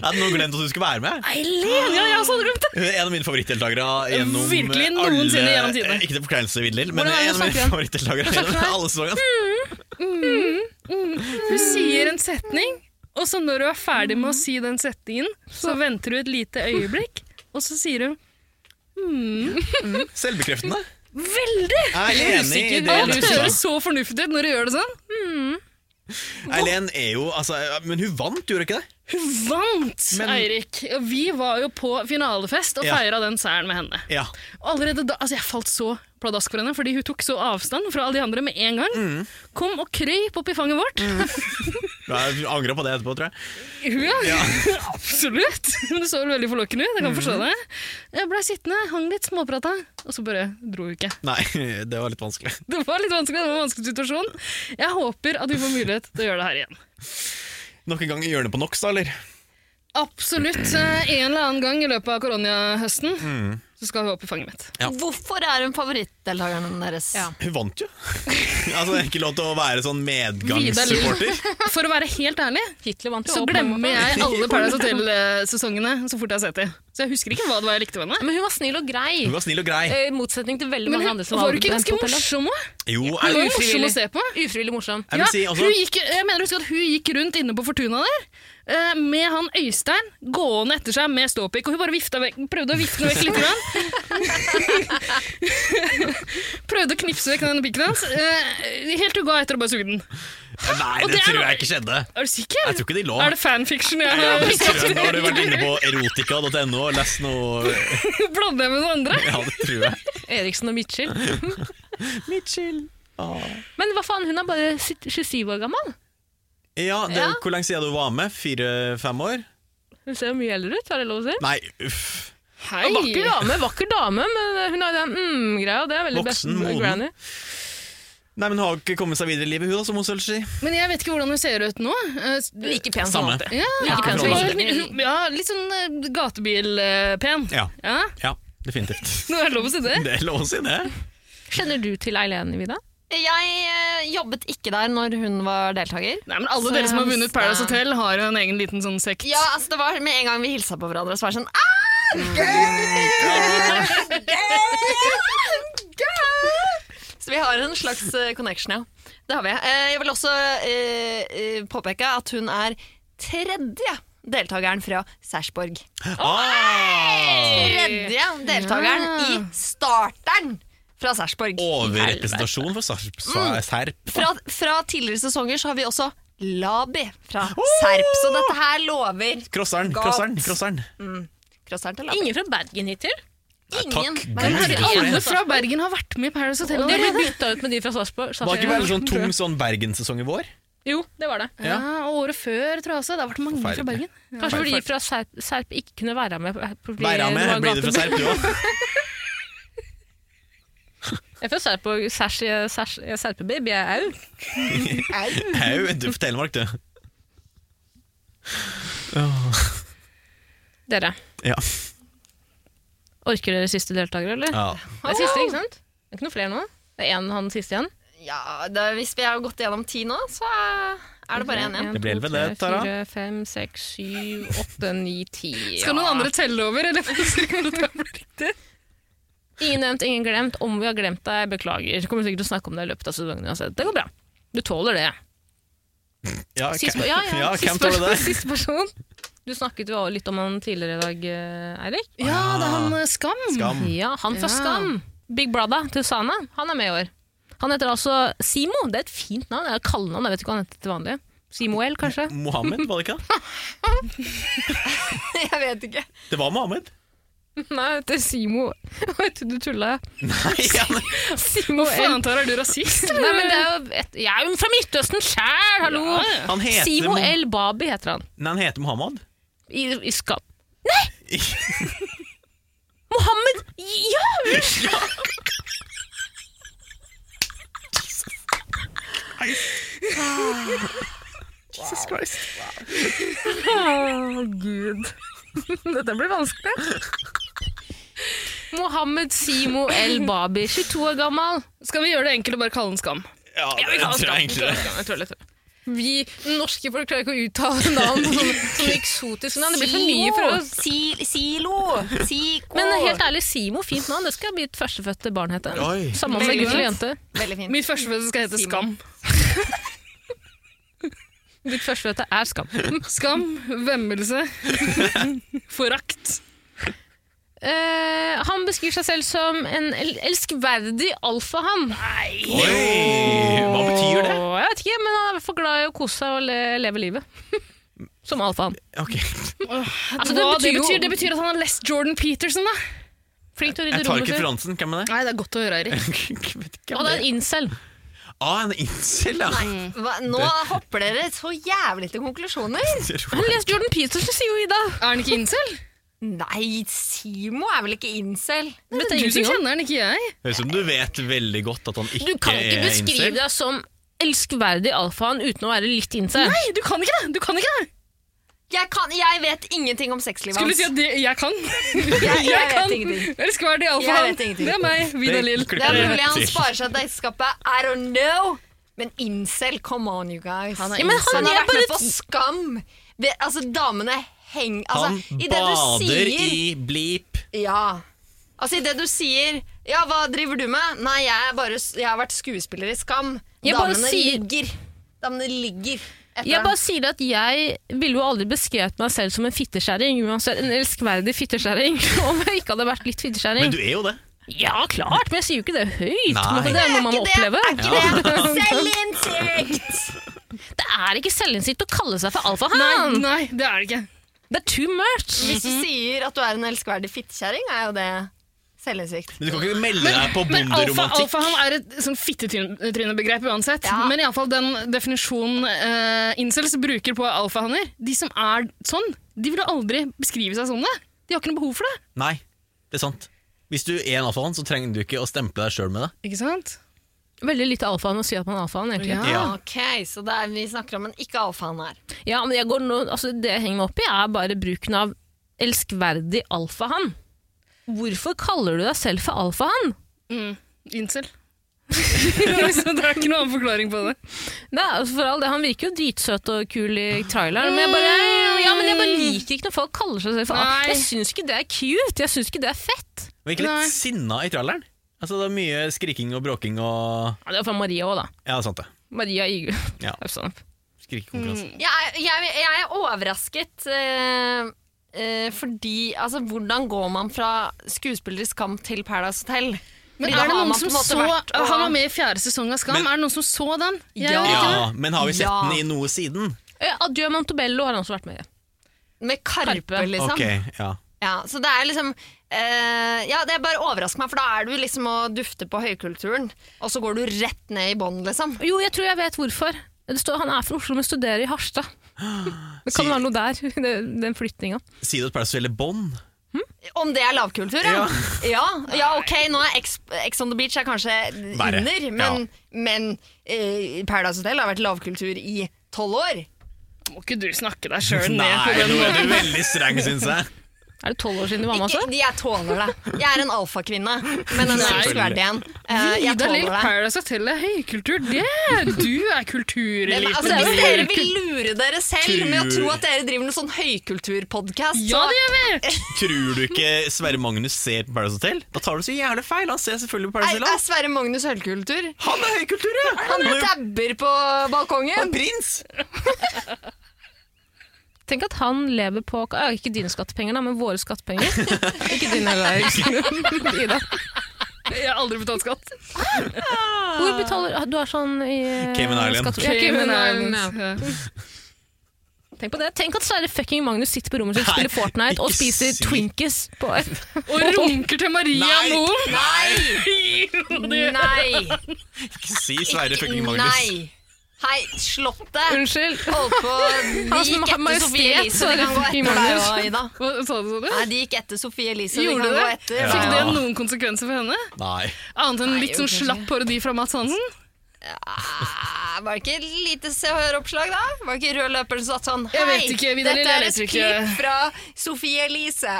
D: hadde nå glemt at du skulle være med.
E: Eileen! Ja, jeg også hadde glemt det.
D: Hun er en av mine favorittdeltakere gjennom
E: Virkelig
D: alle-
E: noensinne gjennom tidene.
D: Ikke til forkleinelse, Vidlil, men
A: Hvordan er det
D: en
A: hun
D: av mine
A: snakker?
D: favorittdeltakere gjennom alle sesongene.
E: Hun sier en setning, og så når hun er ferdig med å si den setningen, så venter hun et lite øyeblikk, og så sier hun
D: Selvbekreftende.
E: Veldig!
D: Jeg er enig i det.
E: Alt
D: Alexa.
E: høres så fornuftig ut når du gjør det sånn.
D: Eileen er jo altså, Men hun vant, gjorde hun ikke det?
E: Hun vant,
D: Men-
E: Eirik! Og vi var jo på finalefest og
D: Ja.
E: feira den seieren med henne.
D: Ja.
E: Og allerede da, altså Jeg falt så pladask for henne, fordi hun tok så avstand fra alle de andre med en gang.
D: Mm.
E: Kom og krøyp opp i fanget vårt.
D: Jeg angrer på det etterpå, tror jeg.
E: Hun, ja. Absolutt. Hun så vel veldig forlokkende ut. Jeg kan forstå det. Jeg blei sittende, hang litt, småprata, og så bare dro hun ikke.
D: Nei, det var litt vanskelig.
E: Det var litt vanskelig, det var en vanskelig situasjon. Jeg håper at vi får mulighet til å gjøre det her igjen.
D: Nok en gang i hjørnet på Nox, da, eller?
E: Absolutt. eh, En eller annen gang i løpet av koronahøsten så skal hun opp i fanget mitt.
D: Ja.
B: Hvorfor er hun favorittdeltakeren deres?
A: Ja.
D: Hun vant jo. altså, det er ikke lov til å være sånn medgangssupporter.
E: For å være helt ærlig
A: Hitler vant jo
E: så
A: også på en
E: glemmer
A: måte.
E: jeg alle Paradise Hotel-sesongene så fort jeg har sett dem. Så jeg husker ikke hva det var jeg likte med henne.
A: Men hun var snill og grei.
D: Hun var snill og grei.
A: Eh, I motsetning til veldig
E: Men
A: mange
E: hun
A: andre som
E: var jo ikke
A: på
E: ganske
A: hotellet.
E: morsom òg?
D: Jo,
E: Hun
D: jeg,
E: var jo morsom
A: Ufrivillig.
E: å se på.
A: Ufrivillig morsom.
D: jeg
E: Ja,
D: vil si altså- også
E: hun gikk, jeg mener husker at hun gikk rundt inne på Fortuna der, eh, med han Øystein gående etter seg med ståpikk, og hun bare vifta vekk, prøvde å vifte den vekk litt. Grann. prøvde å knipse vekk den pikken hans. eh, helt til hun ga etter og bare sugde den.
D: Nei,
E: Og
D: det
E: det er
D: tror
E: noe-
D: jeg ikke skjedde.
E: Er du sikker?
D: Jeg tror ikke de lå.
E: Er det fanfiction jeg
D: Ja,
E: har
D: det tror
E: skapt?
D: jeg. Nå har du vært inne på erotika.no og lest noe
E: Blander jeg med noen andre?
D: Ja, det tror jeg.
A: Eriksen og Mitchell. Men hva faen, hun er bare sitt- 27 år gammel.
D: Ja, det,
B: Ja.
D: Hvor lenge siden du var med? Fire-fem år?
A: Hun ser jo mye eldre ut, har jeg lov å si.
D: Nei, uff.
E: Hei!
A: Vakker dame, vakker dame, men hun har den mm-greia. Det er veldig best
D: Voksen, moden.
A: granny.
D: Nei, men hun har ikke kommet seg videre i livet, hun da, som hun selv sier.
E: Men jeg vet ikke hvordan hun ser ut nå. Eh,
B: Like pen som
D: Samme.
B: alltid.
E: Ja,
A: Ja,
E: ikke pen
D: ikke
E: som-
B: pen.
E: ja, litt sånn eh, gatebil-pen.
D: Ja,
E: Ja,
D: ja definitivt.
E: nå er det lov å si det.
D: Det er lov å si det.
A: Kjenner du til Eileen, Vida?
B: Jeg eh, jobbet ikke der når hun var deltaker.
E: Nei, men Alle
B: Så
E: dere som har
B: jeg
E: vunnet
B: visste-
E: Paradise Hotel, har jo en egen liten sånn sekt.
B: Ja, altså det var Med en gang vi hilsa på hverandre, så var det sånn ah, girl, girl. Så vi har en slags eh, connection, ja. Det har vi. Eh, Jeg vil også eh, eh, påpeke at hun er tredje deltakeren fra Sarpsborg.
D: Ah,
B: Tredje deltakeren i starteren fra Sarpsborg.
D: overrepresentasjon for Sarp.
A: Mm.
D: sa- Serp.
B: fra, fra tidligere sesonger så har vi også Labi fra Serp, så dette her lover
D: Crosseren,
B: Galt.
D: crosseren, crosseren.
B: Crosseren til Labi.
A: Ingen fra Bergen hittil.
B: Ingen.
D: Takk
B: Men
D: Gud.
B: herregud,
E: Alle fra Bergen har vært med i Paradise Hotel
A: Og de ble
E: allerede.
A: bytta ut med de fra Sarpsborg.
D: Var ikke veldig sånn tung sånn Bergenssesong i vår?
A: Jo, det var det.
E: Ja, og Året før, tror jeg også. Det har vært mange fra
D: Forferdelig.
E: Bergen.
A: Kanskje fordi de fra Serp, Serp ikke kunne være med. på- på- fordi
D: Være
A: det var
D: med, blir du fra
A: gate-
D: Serp du òg?
A: Jeg er fra Serpborg. Sæsj, jeg- sæsj, jeg er Serpebaby, jeg er au.
D: Au, du fra Telemark, du.
A: Dere,
D: Ja.
A: orker dere siste deltakere, eller?
D: ja.
A: Det er siste, ikke sant? Det er ikke noe flere nå? Det er én han siste igjen?
B: Ja, det, hvis vi har gått gjennom ti nå, så er det bare én igjen.
A: En,
D: Det blir
A: to,
D: vel det,
A: tre,
D: Tara.
A: Fire, fem, seks, syv, åtte, ni, ti.
E: Skal noen andre telle over, eller? Nei,
A: Ingen nevnt, ingen glemt. Om vi har glemt deg, beklager. Jeg kommer sikkert til å snakke om det i løpet av sesongen uansett. Det går bra. Du tåler det.
D: Ja,
A: Sist, ja,
D: hvem-
A: ja.
D: ja, hvem
A: sist,
D: tåler
A: person,
D: det?
A: sist person. Du snakket jo litt om han tidligere i dag, eh, Eirik.
E: Ja, det er han eh, Skam.
D: Skam.
A: Ja, han fra
E: Ja.
A: Skam. Big Brother til Sana. Han er med i år. Han heter altså Simo. Det er et fint navn. Jeg kaller navn, jeg vet ikke hva han heter til vanlig. Simoel, kanskje?
D: Mohammed, var det ikke det?
B: Jeg vet ikke.
D: Det var Mohammed.
A: Nei, det heter Simo. Oi, Du tulla.
D: Nei, ja, men-
A: Simoel.
E: Faen, Tara, er du rasist?
A: Nei, men det er jo et, jeg er jo fra Midtøsten sjæl, hallo!
D: han heter
A: Simo
D: Mo-
A: El Babi heter han.
D: Nei, han heter Mohammed.
A: I, i Skam. Nei! Mohammed Ja!
D: Jesus Christ.
A: Gud. Dette blir vanskelig. Mohammed Simo El Babi, 22 år gammel.
E: Skal vi gjøre det enkelt og bare kalle han Skam?
D: Ja, det tror jeg egentlig
A: Jeg tror
D: det.
A: det, jeg tror det. Vi norske folk klarer ikke å uttale navn som, som eksotisk navn. Det blir for mye for oss.
B: Si- Silo! Siko!
A: Men helt ærlig, Simo, fint navn. Det skal mitt førstefødte barn hete.
D: Oi.
A: Samme om det er gutt eller jente.
B: Veldig fint.
E: Mitt førstefødte skal hete Skam.
B: Simon.
A: Mitt førstefødte er Skam.
E: Skam, vemmelse, forakt.
A: Eh, han beskriver seg selv som en el elskverdig alfahann.
D: Oi, hva betyr det?
A: Åh, Jeg vet ikke, men han er i hvert fall glad i å kose seg og le leve livet. Som alfaen.
D: Ok,
A: Altså, det
E: Hva
A: betyr jo-
E: betyr, det betyr at han har lest Jordan Peterson, da.
A: Flink til å
D: Jeg
A: rydde
D: tar
A: rommet
D: ikke
A: sitt.
D: referansen. Hvem er det?
E: Nei, det er godt å høre, Eirik.
D: Jeg vet ikke
A: Og
D: hvem
A: det er
D: det er.
A: en incel.
D: Ah, en incel, ja!
A: Mm.
B: Hva, nå hopper dere så jævlig til konklusjoner.
A: Men les Jordan Peterson, sier jo Ida.
E: Er han ikke incel?
B: Nei, Simo er vel ikke incel?
E: Det
A: Vet
E: er
A: jeg
E: du som
A: ingenting om.
E: kjenner han, ikke jeg.
D: Høres ut som du vet veldig godt at han ikke,
A: Du kan ikke
D: er
A: beskrive
D: incel.
A: deg som elskverdig alfaen uten å være litt incel.
E: Nei, du kan ikke det! Du kan ikke det.
B: Jeg, kan, jeg vet ingenting om sexlivet
E: Skulle du si
B: hans.
E: at det, jeg kan?
B: jeg, jeg
E: kan.
B: vet ingenting.
E: Eller skal være det
B: Jeg
E: alfaen?
B: vet ingenting.
E: Det er meg, Vida Lill.
D: klipper
B: Det er
D: jeg
B: mulig han
D: til.
B: sparer seg til ekteskapet. I don't know. Men incel, come on, you guys. Han,
E: er
A: Ja, men
B: har
A: han er
B: vært med
A: bare
B: på Skam. Det, altså, damene heng...
D: Han
B: Altså, i det du
D: bader
B: sier
D: i blip.
B: Ja. Altså, i det du sier Ja, hva driver du med? Nei, jeg, er bare, jeg har vært skuespiller i Skam.
A: Jeg bare
B: Damene
A: sier-
B: ligger. Damene ligger. etter
A: Jeg
B: ham.
A: bare sier at jeg ville jo aldri beskrevet meg selv som en fittekjerring. Uansett en elskverdig fittekjerring. Om jeg ikke hadde vært litt
D: Men
A: fittekjerring.
D: du er jo det.
A: Ja, klart, men jeg sier jo ikke det høyt.
D: Nei.
A: Men det er noe man må
B: Er ikke det-
A: oppleve.
B: Er ikke det selvinnsikt?
A: Det er ikke selvinnsikt å kalle seg for
E: Nei,
A: alfahann.
E: nei, det er det ikke.
A: Det er too much.
B: Hvis du sier at du er en elskverdig fittekjerring, er jo det selvinnsikt.
D: Men du kan ikke melde deg på
E: Men alfa,
D: bonderomantikk.
E: alfa han er et sånn fittetrynebegrep uansett.
B: Ja.
E: Men iallfall den definisjonen eh, incels bruker på alfahanner De som er sånn, de ville aldri beskrive seg sånn. Det. De har ikke noe behov for det.
D: Nei, det er sant. Hvis du er en alfahann, så trenger du ikke å stemple deg sjøl med det.
E: Ikke sant?
A: Veldig lite alfahann å si at man er alfahann, egentlig.
B: Ah,
E: Ja.
D: Ja.
B: Ok, så det er, vi snakker om en ikke-alfaen her.
A: Ja, men jeg går nå, altså Det jeg henger meg opp i, er bare bruken av elskverdig alfahann. Hvorfor kaller du deg selv for alfahann?
E: Mm. Incel. Så det er ikke noen annen forklaring på det.
A: Nei, altså for all det, Han virker jo dritsøt og kul i traileren, men jeg bare, ja, men jeg bare liker ikke når folk kaller seg selv for
E: Nei.
A: alfahann. Jeg syns ikke det er cute, jeg syns ikke det er fett.
D: Men ikke
E: Nei.
D: litt sinna i tralleren? Altså, det er mye skriking og bråking og
A: Ja, det er fra Maria òg, da.
D: Ja, det er sant det.
A: Maria sånn. Igu.
D: Ja.
A: Haugstad.
D: Skrikekonkurranse.
B: Jeg, er- jeg, jeg er overrasket eh, eh, fordi Altså, hvordan går man fra skuespiller i Skam til Paradise Hotel?
E: Men
B: Fordi da
E: er det
B: har
E: noen
B: man på
E: som
B: en måte
E: så
B: vært og-
E: Han var med i fjerde sesong av Skam.
D: Men-
E: er det noen som så den? Jeg
B: Ja.
E: gjør ikke det.
D: Ja, men har vi sett
B: Ja.
D: den i noe siden?
A: Eh, Adjø Montebello har han også vært med i.
B: Med Karpe,
A: Karpe.
B: liksom.
D: Ok, ja.
B: Ja, så det er liksom eh, Ja, det bare overrasker meg, for da er du liksom og dufter på høykulturen, og så går du rett ned i bånn, liksom.
A: Jo, jeg tror jeg vet hvorfor. Det står, han er fra Oslo, men studerer i Harstad. Det kan
D: Si-
A: være noe der, det- den flyttinga.
D: Si det at Paradise Hotel er bånd.
B: Om det er lavkultur, ja. Ja, ja ok, nå er Ex, Ex on the Beach er kanskje
D: Verre,
B: under, men, men eh, Paradise Hotel har vært lavkultur i tolv år.
E: Må ikke du snakke deg sjøl
D: Nei,
E: ned på den
D: nå er
E: måten?
D: du veldig streng, syns jeg.
A: Er det tolv år siden du var med?
B: Ikke,
A: Altså?
B: jeg tåler det. Jeg er en alfakvinne, men en
E: Nei.
B: elskverdig en. Eh, jeg
E: Vidar Lill,
B: tåler det.
E: Paradise Hotel er høykultur. Det! Du er
B: Men,
E: kultureliten.
B: altså, hvis dere vil lure dere selv med å
D: Tur.
B: tro at dere driver med sånn høykulturpodkast,
E: Ja, det gjør vi!
D: Tror du ikke Sverre Magnus ser på Paradise Hotel? Da tar du så jævlig feil. Han ser selvfølgelig på
B: er,
D: Paradise
B: er
D: Hotel.
B: eh, Sverre Magnus høykultur.
D: Han er høykultur, ja!
B: Han
D: er jo
B: dabber på
D: han er
B: balkongen.
D: prins!
A: Tenk at han lever på ja, Ikke dine skattepenger, da, men våre skattepenger. ikke dine heller, Eirik. Ida.
E: Jeg har aldri betalt skatt.
A: Hvor betaler Du er sånn i
D: Cayman Island.
A: skatte- Ja, Cayman
E: eh,
A: Island, ja. Tenk på det. Tenk at Sverre fucking Magnus sitter på rommet sitt,
D: Nei,
A: spiller Fortnite og
D: ikke
A: spiser
D: si-
A: Twinkies. På
E: Og runker til Maria
D: Nei.
E: Moen.
B: Nei! Nei!
D: Ikke si Sverre fucking Magnus.
B: Nei! Hei, Slottet!
A: Unnskyld.
B: Holdt på De
A: Hans
B: gikk etter
A: Majestet
B: Sofie Elise.
A: Sverre
B: De
A: fucking
B: kan gå etter deg
A: Magnus.
B: òg, Ida.
E: Hva sa du, sa du?
B: Nei, de gikk etter Sofie Elise. De
E: Gjorde
B: kan gå
E: det?
B: etter.
E: Fikk det
D: Ja.
E: noen konsekvenser for henne?
D: Nei.
E: Annet enn litt
B: jo,
E: sånn
B: kanskje.
E: slapp parodi fra Mads Hansen?
B: Ah, Var det ikke et lite Se og Hør-oppslag, da? Var det ikke rød løper som satt sånn
E: Jeg
B: Hei,
E: vet ikke, Vidar Lill, jeg
B: dette er et
E: leser ikke.»
B: klipp fra Sofie Elise.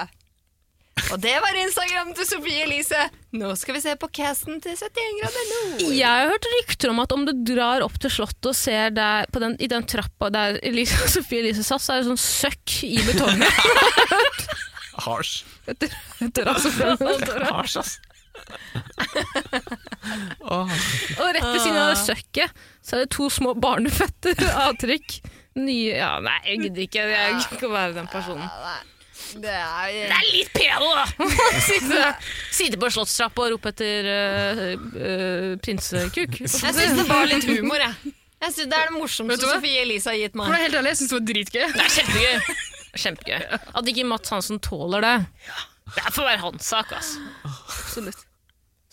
B: Og det var Instagram til Sofie Elise. Nå skal vi se på casten til 71 grader nord.
A: Jeg har hørt rykter om at om du drar opp til Slottet og ser der, på den, i den trappa der Elise, Sofie Elise satt, så er det sånn søkk i betongen.
D: Harsh.
A: Etter, etter altså, og
D: Harsh, ass. Åh.
A: rett ved siden av det søkket så er det to små barneføtter avtrykk. Nye Ja, nei, jeg gidder ikke. Jeg gidder ikke å være den personen.
B: Det er
A: Det er litt pedo, da! Sitte, sitte på slottstrappa og rope etter øh, øh, eh, prinsekuk.
B: Jeg syns det var litt humor, jeg. Jeg synes Det er det morsomste
E: Vet du hva?
B: Sofie Elise har gitt
E: For det
B: meg.
E: er helt ærlig, jeg syns det var dritgøy.
A: Det er kjempegøy. Kjempegøy. At ikke Mats Hansen tåler det. Det får være hans sak, altså. Absolutt.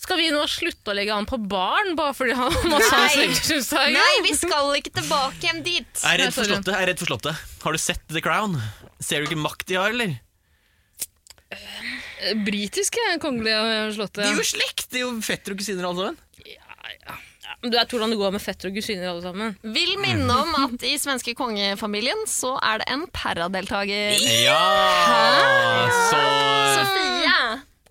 A: Skal vi nå slutte å legge han på baren bare fordi han Mats Hansen ikke syns det er gøy?
B: Nei, vi skal ikke tilbake hjem dit!
D: Jeg er redd for
E: sorry.
D: Slottet. jeg er redd for slottet. Har du sett The Crown? Ser du ikke makt de har, eller?
E: Eh, Britiske kongelige slottet.
D: De er jo slekt! De er jo fetter og kusiner, alle sammen.
A: Du vet hvordan det går med fetter og kusiner alle sammen.
B: Vil minne om at i svenske kongefamilien så er det en paradeltaker.
D: Ja! Så
B: Sofie!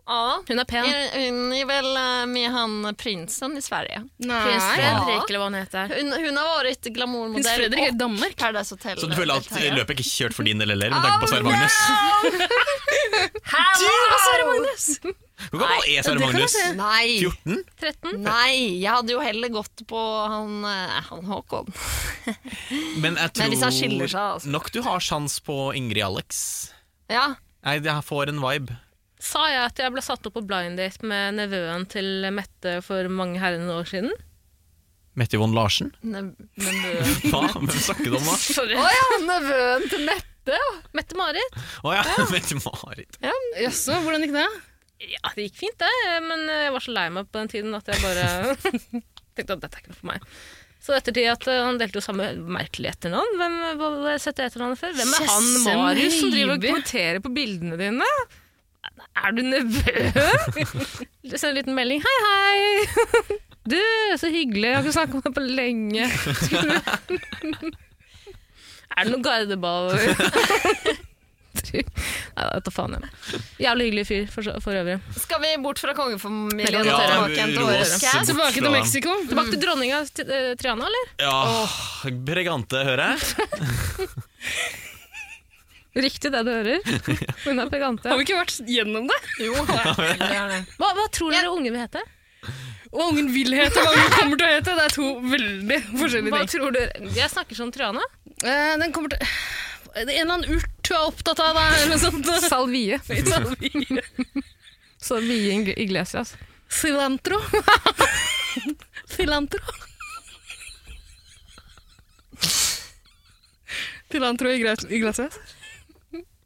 B: Ja.
A: Hun er pen.
B: Hun er vel eh, med han prinsen i Sverige.
A: Prins
E: Nei.
A: Fredrik, eller hva han heter.
B: Hun, hun har vært
E: Prins
B: glamourmodell
E: Fredrik er i
B: og
E: Danmark.
B: Paradise Hotel.
D: Så du føler at
B: deltaker.
D: løpet ikke er kjørt for din del heller, med tanke på Sverre Magnus?
B: Hello!
D: Hvor gammel er E, Sverre Magnus?
B: Nei,
D: 14?
A: 13?
B: nei, jeg hadde jo heller gått på han, eh, han Håkon.
D: Men jeg
B: Men
D: tror
B: hvis han skiller seg, altså.
D: nok du har sjans på Ingrid Alex.
B: Ja,
D: Nei, jeg får en vibe.
A: Sa jeg at jeg ble satt opp på blind date med nevøen til Mette for mange herrene år siden?
D: Mette Yvonne Larsen?
B: ne- nevøen.
D: Hva? Hvem snakker du om da?
A: Sorry.
B: Å ja, nevøen til Mette.
A: Mette-Marit?
D: Å ja, Mette-Marit.
E: Jaså, hvordan gikk det?
A: Ja, det gikk fint, det. Men jeg var så lei meg på den tiden at jeg bare tenkte at dette er ikke noe for meg. Så ettertid at eh, Han delte jo samme merkelige etternavn. Hvem hva har jeg sett det etternavnet før? Hvem er han
E: Sessem
A: Marius som driver og
E: Høiby.
A: kommenterer på bildene dine? Er du nevøen? Send en liten melding. Hei, hei! Du, så hyggelig. Jeg har ikke snakket med deg på lenge. Skulle du- er det noe gardeball over? Nei, jeg vet da faen. jeg. Jævlig hyggelig fyr for, så- for øvrig.
B: Skal vi bort fra kongefamilien
A: Veldig
B: og
A: godt å høre.
B: tilbake igjen til
D: Ja, vi
B: årets
D: roer oss
B: cast?
E: Tilbake
D: fra
E: til
D: dem.
E: Mexico.
A: Tilbake til dronninga til, eh, Triana, eller?
D: Ja, Bregante, hører jeg.
A: Riktig det du hører. Hun er pegante.
E: Har vi ikke vært gjennom det?
B: Jo, det er det.
A: Hva, hva tror dere ungen vil hete?
E: Og ungen vil hete hva ungen kommer til å hete. Det er to veldig forskjellige
A: Hva
E: ting.
A: tror dere? Jeg snakker som Triana.
E: Eh, den kommer til En eller annen urt du er opptatt av, da, eller noe sånt.
A: Salvie.
E: Salvie.
A: Salvie Ing- Iglesias.
E: Cilantro. Cilantro. Cilantro i gras- i glasset.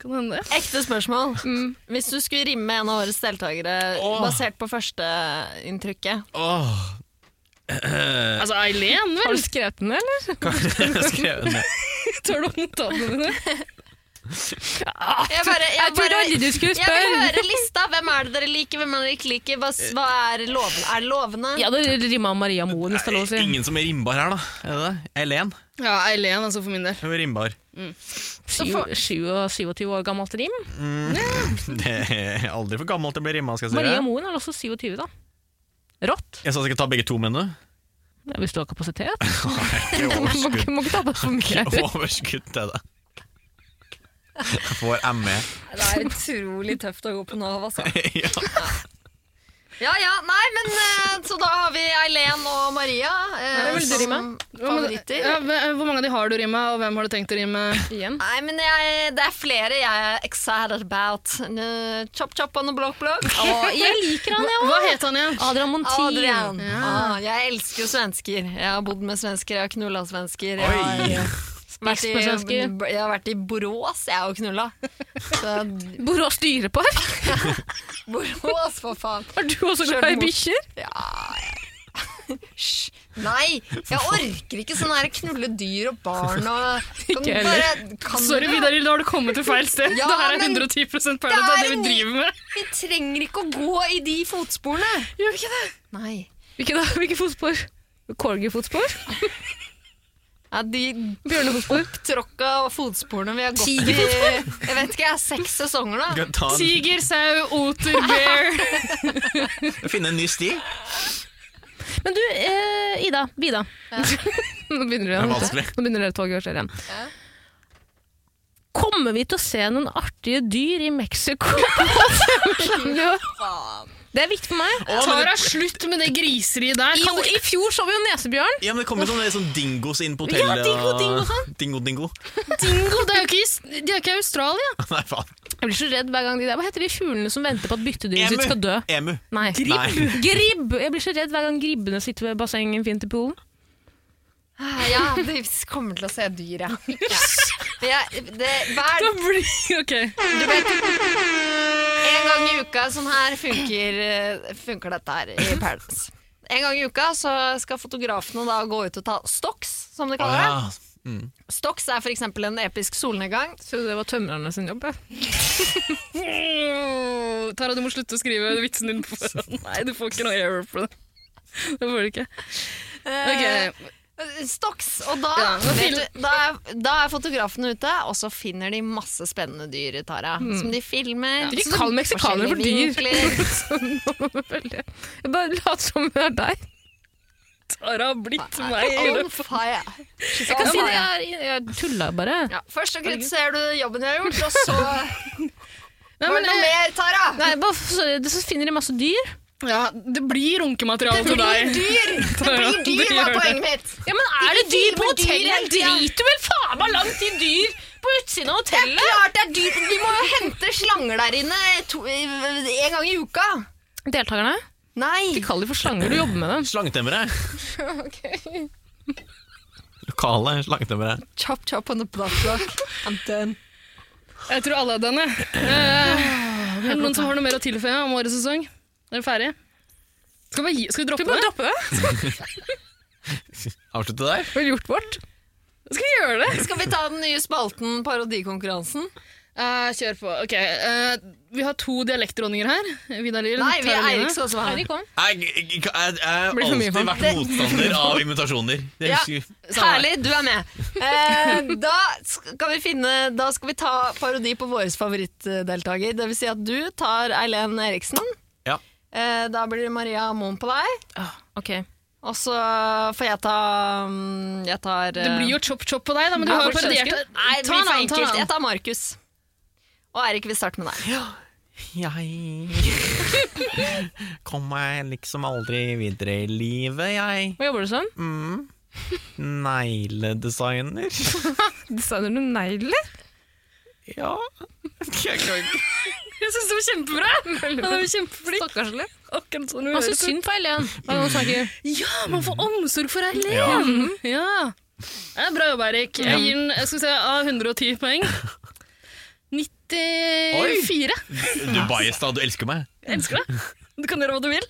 E: Kan det hende det?
B: Ekte spørsmål.
E: Mm.
B: Hvis du skulle rimme en av årets deltakere
D: Åh.
B: basert på førsteinntrykket
D: Åh.
E: Altså Eileen,
A: Har
E: vel?
A: du skrevet den, eller?
D: Jeg har skrevet ned.
E: Tør du opp notatene dine?
B: Jeg, bare, jeg, bare,
A: du skulle
B: jeg vil høre lista. Hvem er det dere liker, hvem er det dere ikke liker? Hva, s- hva er lovende? Er det lovende?
A: Ja, det rima Maria Moen, hvis det er lov å si.
D: Ingen som er rimbar her, da. Er det det? Eileen?
E: Ja, Eileen, altså, for min del.
D: Hun er rimbar.
A: Sju- sju og 27 år gammelt rim.
D: Det er aldri for gammelt til å bli rimma, skal jeg si
A: Maria
D: deg.
A: Moen er også 27, da. Rått.
D: Jeg sa jeg skulle ta begge to, mener du?
A: Ja, Hvis du har kapasitet.
D: Ikke
A: Må ikke- må ikke ta det for mye.
D: overskudd- Overskudd til det. Jeg får E. ME.
B: Det er utrolig tøft å gå på Nav, altså.
D: ja.
B: Ja ja, nei, men eh, Så da har vi Eileen og Maria eh,
A: Hvem vil du
B: som
E: Ja, men-
B: favoritter.
E: Ja, hve- hvor mange av de har du rima, og hvem har du tenkt å rime?
A: Igjen.
B: Nei, men jeg, det er flere jeg er excited about. Nå, Chop chop on the block block.
A: jeg liker han, jeg
E: Hva het han igjen?
A: Adrian Montin.
B: Adrian. Ah, jeg elsker jo svensker. Jeg har bodd med svensker, jeg har knulla svensker. Jeg har,
D: Oi.
B: eh, vært,
A: Spist med
B: i,
A: svensker.
B: jeg har vært i Borås, jeg, og knulla. Så
A: Borås dyrepark.
B: Borås, altså, for faen.
A: Er du også glad i
B: Selvmord.
A: bikkjer?
B: Ja, ja. Hysj. Nei, jeg orker ikke sånn her knulle dyr og barn og Kan du
A: Ikke
B: bare kan du
E: Sorry,
B: det?
E: Vidar Hilde, har du kommet til feil sted?
B: Ja,
E: det her er
B: men
E: 110 perle, det
B: det
E: er
B: er
E: det vi
B: en-
E: driver med.
B: Vi trenger ikke å gå i de fotsporene.
E: Gjør vi ikke det?
B: Nei.
A: Hvilke, da? Hvilke fotspor? Corgi-fotspor?
B: Ja, de
A: Bjørnefotspor?
B: tråkka fotsporene vi har gått i Jeg vet ikke, jeg har seks sesonger, da.
D: Skal jeg ta en,
E: Tiger, sau, oter, bear.
D: finne en ny sti?
A: Men du, eh, Ida. Vida. Nå begynner du
D: Det er
A: igjen.
D: vanskelig.
A: Nå begynner dere toget å kjøre igjen.
B: Ja.
A: Kommer vi til å se noen artige dyr i Mexico? det er viktig for meg.
D: Å, men
E: Tara,
D: det,
E: slutt med det griseriet der.
A: I,
E: Kan du
A: I fjor så vi jo nesebjørn.
D: ja, men det kommer jo sånne sånn dingos inn på hotellet.
A: Ja, dingo, dingo, sånn.
D: og- Dingo, dingo.
E: dingo? Det er jo ikke, i- de er ikke i Australia.
D: Nei, faen.
A: Jeg blir så redd hver gang de der. Hva heter de fuglene som venter på at byttedyret sitt skal dø?
D: Emu.
A: Nei.
D: Nei.
A: Gribb! Jeg blir så redd hver gang gribbene sitter ved bassenget fint i poolen.
B: Ja, vi kommer til å se dyr, ja. ja. Jeg- Det, hver,
E: Da blir Ok.
B: du vet, en gang i uka sånn her funker, eh, funker dette her i Paradise. En gang i uka så skal fotografene da gå ut og ta stocks, som de kaller det.
D: Ah, mm.
B: Stocks er f.eks. en episk solnedgang.
A: Så det var tømrerne sin jobb, ja.
E: Mm, Tara, du må slutte å skrive vitsen din på forhånd. Nei, du får ikke noe error på det. Det får du ikke. Ok,
B: Stocks, Eh, og da,
E: Ja, nå
B: vet
E: fil-
B: du, da, er, da er fotografene ute, og så finner de masse spennende dyr, Tara.
A: Mm.
B: Som de filmer.
A: Ikke kall meksikanere for dyr. Jeg bare lat som det er deg.
E: Tara har blitt meg. i
B: On
E: løpet-
B: fire.
A: Jeg kan si det, jeg, er- jeg tulla bare.
B: Ja, først så kritiserer du jobben jeg har gjort, og så
E: Nei,
B: Var
E: men,
B: det noe
E: eh,
B: mer, Tara?
A: Nei, bare, så, så finner de masse dyr.
E: ja, det blir runkemateriale
B: Det
E: til
B: blir
E: deg.
B: dyr! Det
E: Tara,
B: blir
E: det
B: dyr,
E: gjør
B: var
E: det.
B: poenget mitt.
A: Ja, men er det dyr på
B: filmer dyr
A: hotellet? Jeg
B: hele tiden.
A: driter vel faen meg langt i dyr på utsiden av hotellet!
B: Klart det er dyr. Vi må jo hente slanger der inne to, eh, en gang i uka.
A: Deltakerne,
B: Nei.
A: ikke kall dem for slanger, du jobber med dem.
D: Slangetemmere. Lokale slangetemmere.
B: Chop chop on the block block. I'm done.
E: Jeg tror alle er denne. Eh, er det noen som har noe mer å tilføye om årets sesong? Er dere ferdige? Skal vi, bare gi, skal vi droppe det?
A: droppe det.
D: Avslutte der.
A: Vi har gjort vårt.
E: Skal vi gjøre det?
B: Skal vi ta den nye spalten parodikonkurransen?
E: Eh, kjør på. Ok, eh, Vi har to dialektdronninger her. Vidar Lill.
B: Nei, vi sånn
E: Tara Line.
B: Eirik skal også være med.
A: Eirik kom.
D: Jeg jeg- jeg har
A: Blir for mye
D: alltid
A: for meg.
D: vært motstander av invitasjoner. Det
B: Ja.
D: husker vi.
B: Herlig, du er med. Eh, da, skal vi finne, da skal vi ta parodi på vår favorittdeltaker. Det vil si at du tar Eileen Eriksen.
D: Ja.
B: Eh, da blir det Maria Moen på deg.
A: Ok.
B: Og så får jeg ta mm, Jeg tar
E: Det blir jo chop-chop på deg, da, men du har jo parodiert det.
B: Nei, det
E: Ta en
B: blir for
E: annen, ta en
B: enkelt. Jeg
E: annen.
B: tar Markus. Og Eirik, vi starter med deg.
D: Jeg kom meg liksom aldri videre i livet, jeg.
A: Hva jobber du som?
D: Mm. Negledesigner.
A: Designer du negler?
D: Ja. Jeg kan ikke
E: Jeg syns det var kjempebra! Han er jo kjempeflink.
A: Stakkarslig.
E: Akkurat sånn hun
A: Altså,
E: høres ut.
A: synd på Eileen. Hva er det hun snakker?
E: Ja, man får omsorg for Eileen!
D: Ja.
E: Ja. Det er bra jobba, Eirik. Jeg gir den jeg skal se, av 110 poeng. 94.
D: Du bias, da. Du elsker meg.
E: Jeg elsker det. Du kan gjøre hva du vil.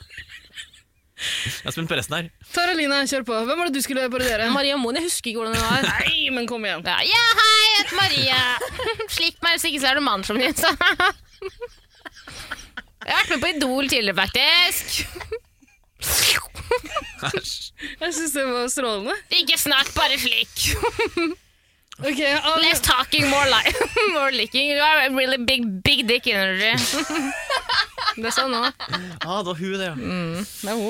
D: Jeg er spent på resten her.
E: Tara Line, kjør på. Hvem var det du skulle parodiere?
A: Maria Moen, jeg husker ikke hvordan hun var.
E: Nei, men kom igjen.
A: Ja, ja, hei, jeg heter Maria. Slik meg, hvis ikke så er du mannen som din. Jeg har vært med på Idol tidligere, faktisk.
E: Jeg syns det var strålende.
A: Ikke snakk, bare slik.
E: Ok, ah, av,
A: Less talking, more like. More licking. You are a really big, big dick energy. Det sa hun òg.
D: Ah, det var hun, det, ja.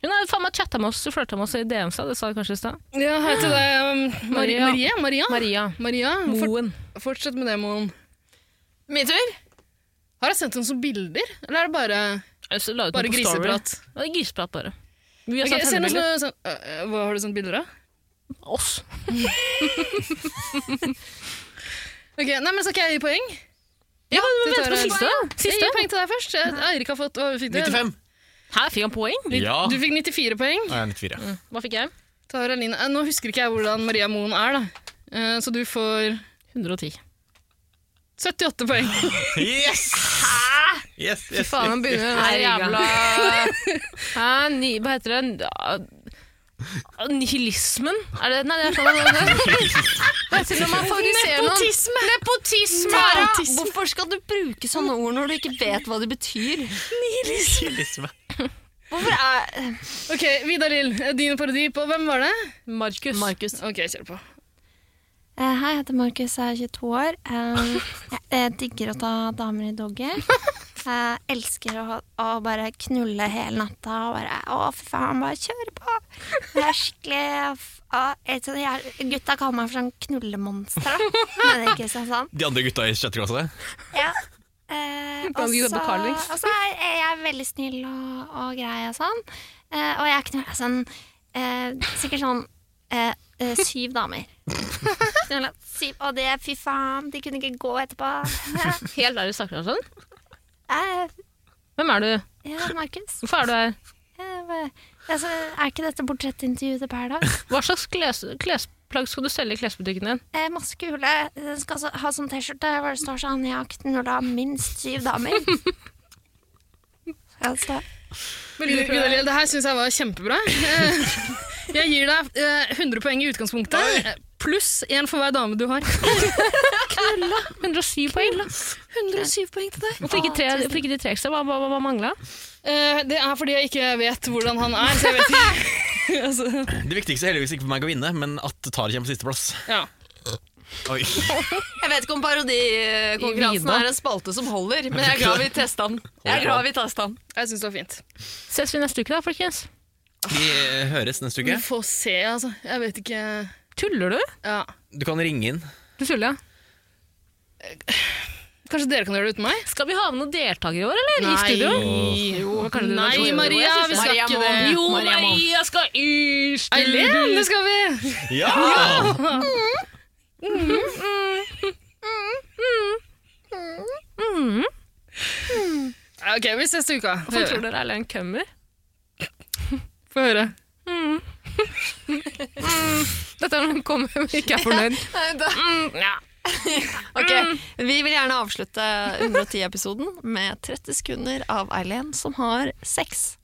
A: Hun har jo faen meg chatta med oss og flørta med oss i DM, sa det sa hun kanskje i stad.
E: ja, hei til deg, um, Maria.
A: Maria.
E: Maria? Maria?
A: Maria
E: Maria, fort,
A: Moen.
E: fortsett med det, Moen.
B: Min tur.
E: Har jeg sendt henne som bilder, eller er det bare,
A: Altså, la ut
E: bare
A: den på story.
E: griseprat?
A: Ja, det er griseprat, bare. Vi har
E: Ok,
A: okay,
E: send oss
A: sendt
E: noe, sånn, øh, øh, hva har du sendt bilder av?
A: oss.
E: Ok, nei, men Skal ikke jeg gi poeng?
A: Ja, men
E: det
A: vent
E: tar
A: på
E: jeg.
A: siste. da.
E: Jeg gir
A: Siste.
E: poeng til deg først. Jeg- Eirik har fått hva fikk du?
D: 95.
A: Her fikk han poeng.
D: Ja.
E: Du fikk 94 poeng.
D: Ah, jeg er 94. ja.
A: Hva fikk jeg?
E: Tara Line, eh, Nå husker ikke jeg hvordan Maria Moen er, da. Eh, så du får
A: 110.
E: 78 poeng.
D: Yes! Yes, yes, yes.
A: han begynner den der jævla Hæ, ny, Hva heter det? Ah, Nihilismen? Er det Nei, det er sånn det heter. Hva heter det når man favoriserer noen? Nepotisme!
B: Tara,
E: Autisme.
B: hvorfor skal du bruke sånne ord når du ikke vet hva de betyr?
D: Nihilisme.
B: Hvorfor er
E: Ok, Vidar Lill, eh, din parodi på hvem var det?
A: Markus.
B: Markus.
E: Ok, kjør på.
F: Eh, Hei, jeg heter Markus, jeg er 22 år. Eh, Jeg, jeg digger å ta damer i doggy. Jeg elsker å, å bare knulle hele natta og bare Å, fy faen, bare kjøre på! Jeg er skikkelig f- å, jeg, så jeg, Gutta kaller meg for sånn knullemonster, da. Men det er ikke sånn sånn.
D: De andre gutta i sjette klasse?
F: Ja. Eh, og
A: Kan du ikke gå på Carlings?
F: så- og så er jeg- jeg er veldig snill og, og grei og sånn. Eh, og jeg knulla sånn eh, Sikkert sånn eh, eh, syv damer. Knulla syv, og det, fy faen, de kunne ikke gå etterpå.
A: Helt der du snakker om sånn?
F: Eh,
A: Hvem er du?
F: ja, Markus.
A: Hvorfor er du her?
F: Jeg var altså, Er ikke dette portrettintervjuet til Paradise?
A: Hva slags kles, klesplagg skal du selge i klesbutikken din?
F: Eh, masse kule. Den skal så- ha sånn T-skjorte hvor det står sånn 'Jeg akten når det har minst syv damer'. altså,
E: Gunnar Lill, det her syns jeg var kjempebra. Eh, Jeg gir deg eh, 100 poeng i utgangspunktet, eh, pluss én for hver dame du har.
A: 107 poeng.
E: 107 poeng til deg.
A: Hvorfor ikke, tre, hvorfor ikke de tre ekstra? Hva, hva, hva mangla?
E: Eh, Det er fordi jeg ikke vet hvordan han er, så jeg vet ikke. altså,
D: Det viktigste er heldigvis ikke for meg å vinne, men at Tari kommer på sisteplass.
E: ja.
D: Oi.
B: Jeg vet ikke om parodikonkurransen
A: Vida.
B: er en spalte som holder, men jeg er glad vi testa den. Jeg er glad vi testa den.
E: Jeg syns det var fint.
A: Ses vi neste uke, da, folkens?
D: Vi eh, høres neste
E: Vi
D: uke.
E: får se, altså. Jeg vet ikke
A: Tuller du?
E: ja.
D: Du kan ringe inn.
A: Du tuller, ja.
E: Kanskje dere kan gjøre det uten meg?
A: Skal vi ha med noen deltakere i år, eller? I studio?
E: Jo.
A: Hva kaller du det?
E: Nei,
A: Jo, jo,
E: Maria,
A: jeg
E: vi
A: synes
E: skal
B: Maria
E: ikke
B: må-
E: det.
A: Jo,
B: Maria må-
A: Eh, Maria skal i studio!
E: Eileen, det skal vi!
D: Ja!
E: Ja, Ok, vi ses til uka.
A: Hvorfor tror dere Eileen kommer?
E: Få høre.
A: Dette er når hun kommer og ikke er fornøyd. Mm,
B: Ok, Vi vil gjerne avslutte 110-episoden med 30 sekunder av Eileen som har sex.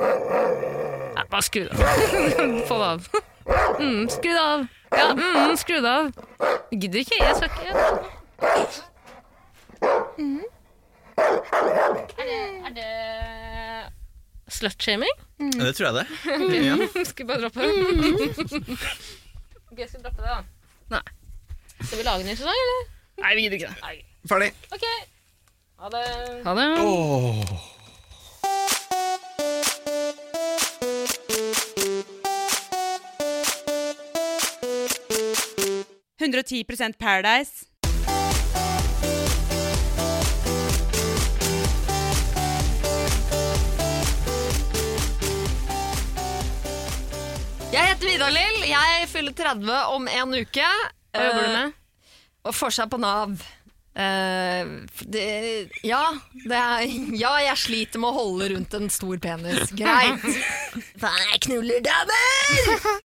A: Nei, bare skru det av. Få det av. Mm, skru det av. Ja, mm, skru det av. Jeg Gidder ikke, jeg skal ikke. Er det, er det slutshaming?
D: Det tror jeg det.
A: Mm. Skal vi bare droppe det? Ok, skal vi droppe det, da?
E: Nei.
A: Skal vi lage en ny sesong, eller?
E: Nei, vi gidder ikke det.
D: Ferdig.
A: Ok. Ha det.
E: Ha det.
C: Paradise.
B: Jeg heter Vidar Lill. Jeg fyller 30 om en uke.
A: Hva jobber du med?
B: Og får seg på Nav. Eh, det, ja, det er, ja, jeg sliter med å holde rundt en stor penis. Greit. Faen, jeg knuller damer!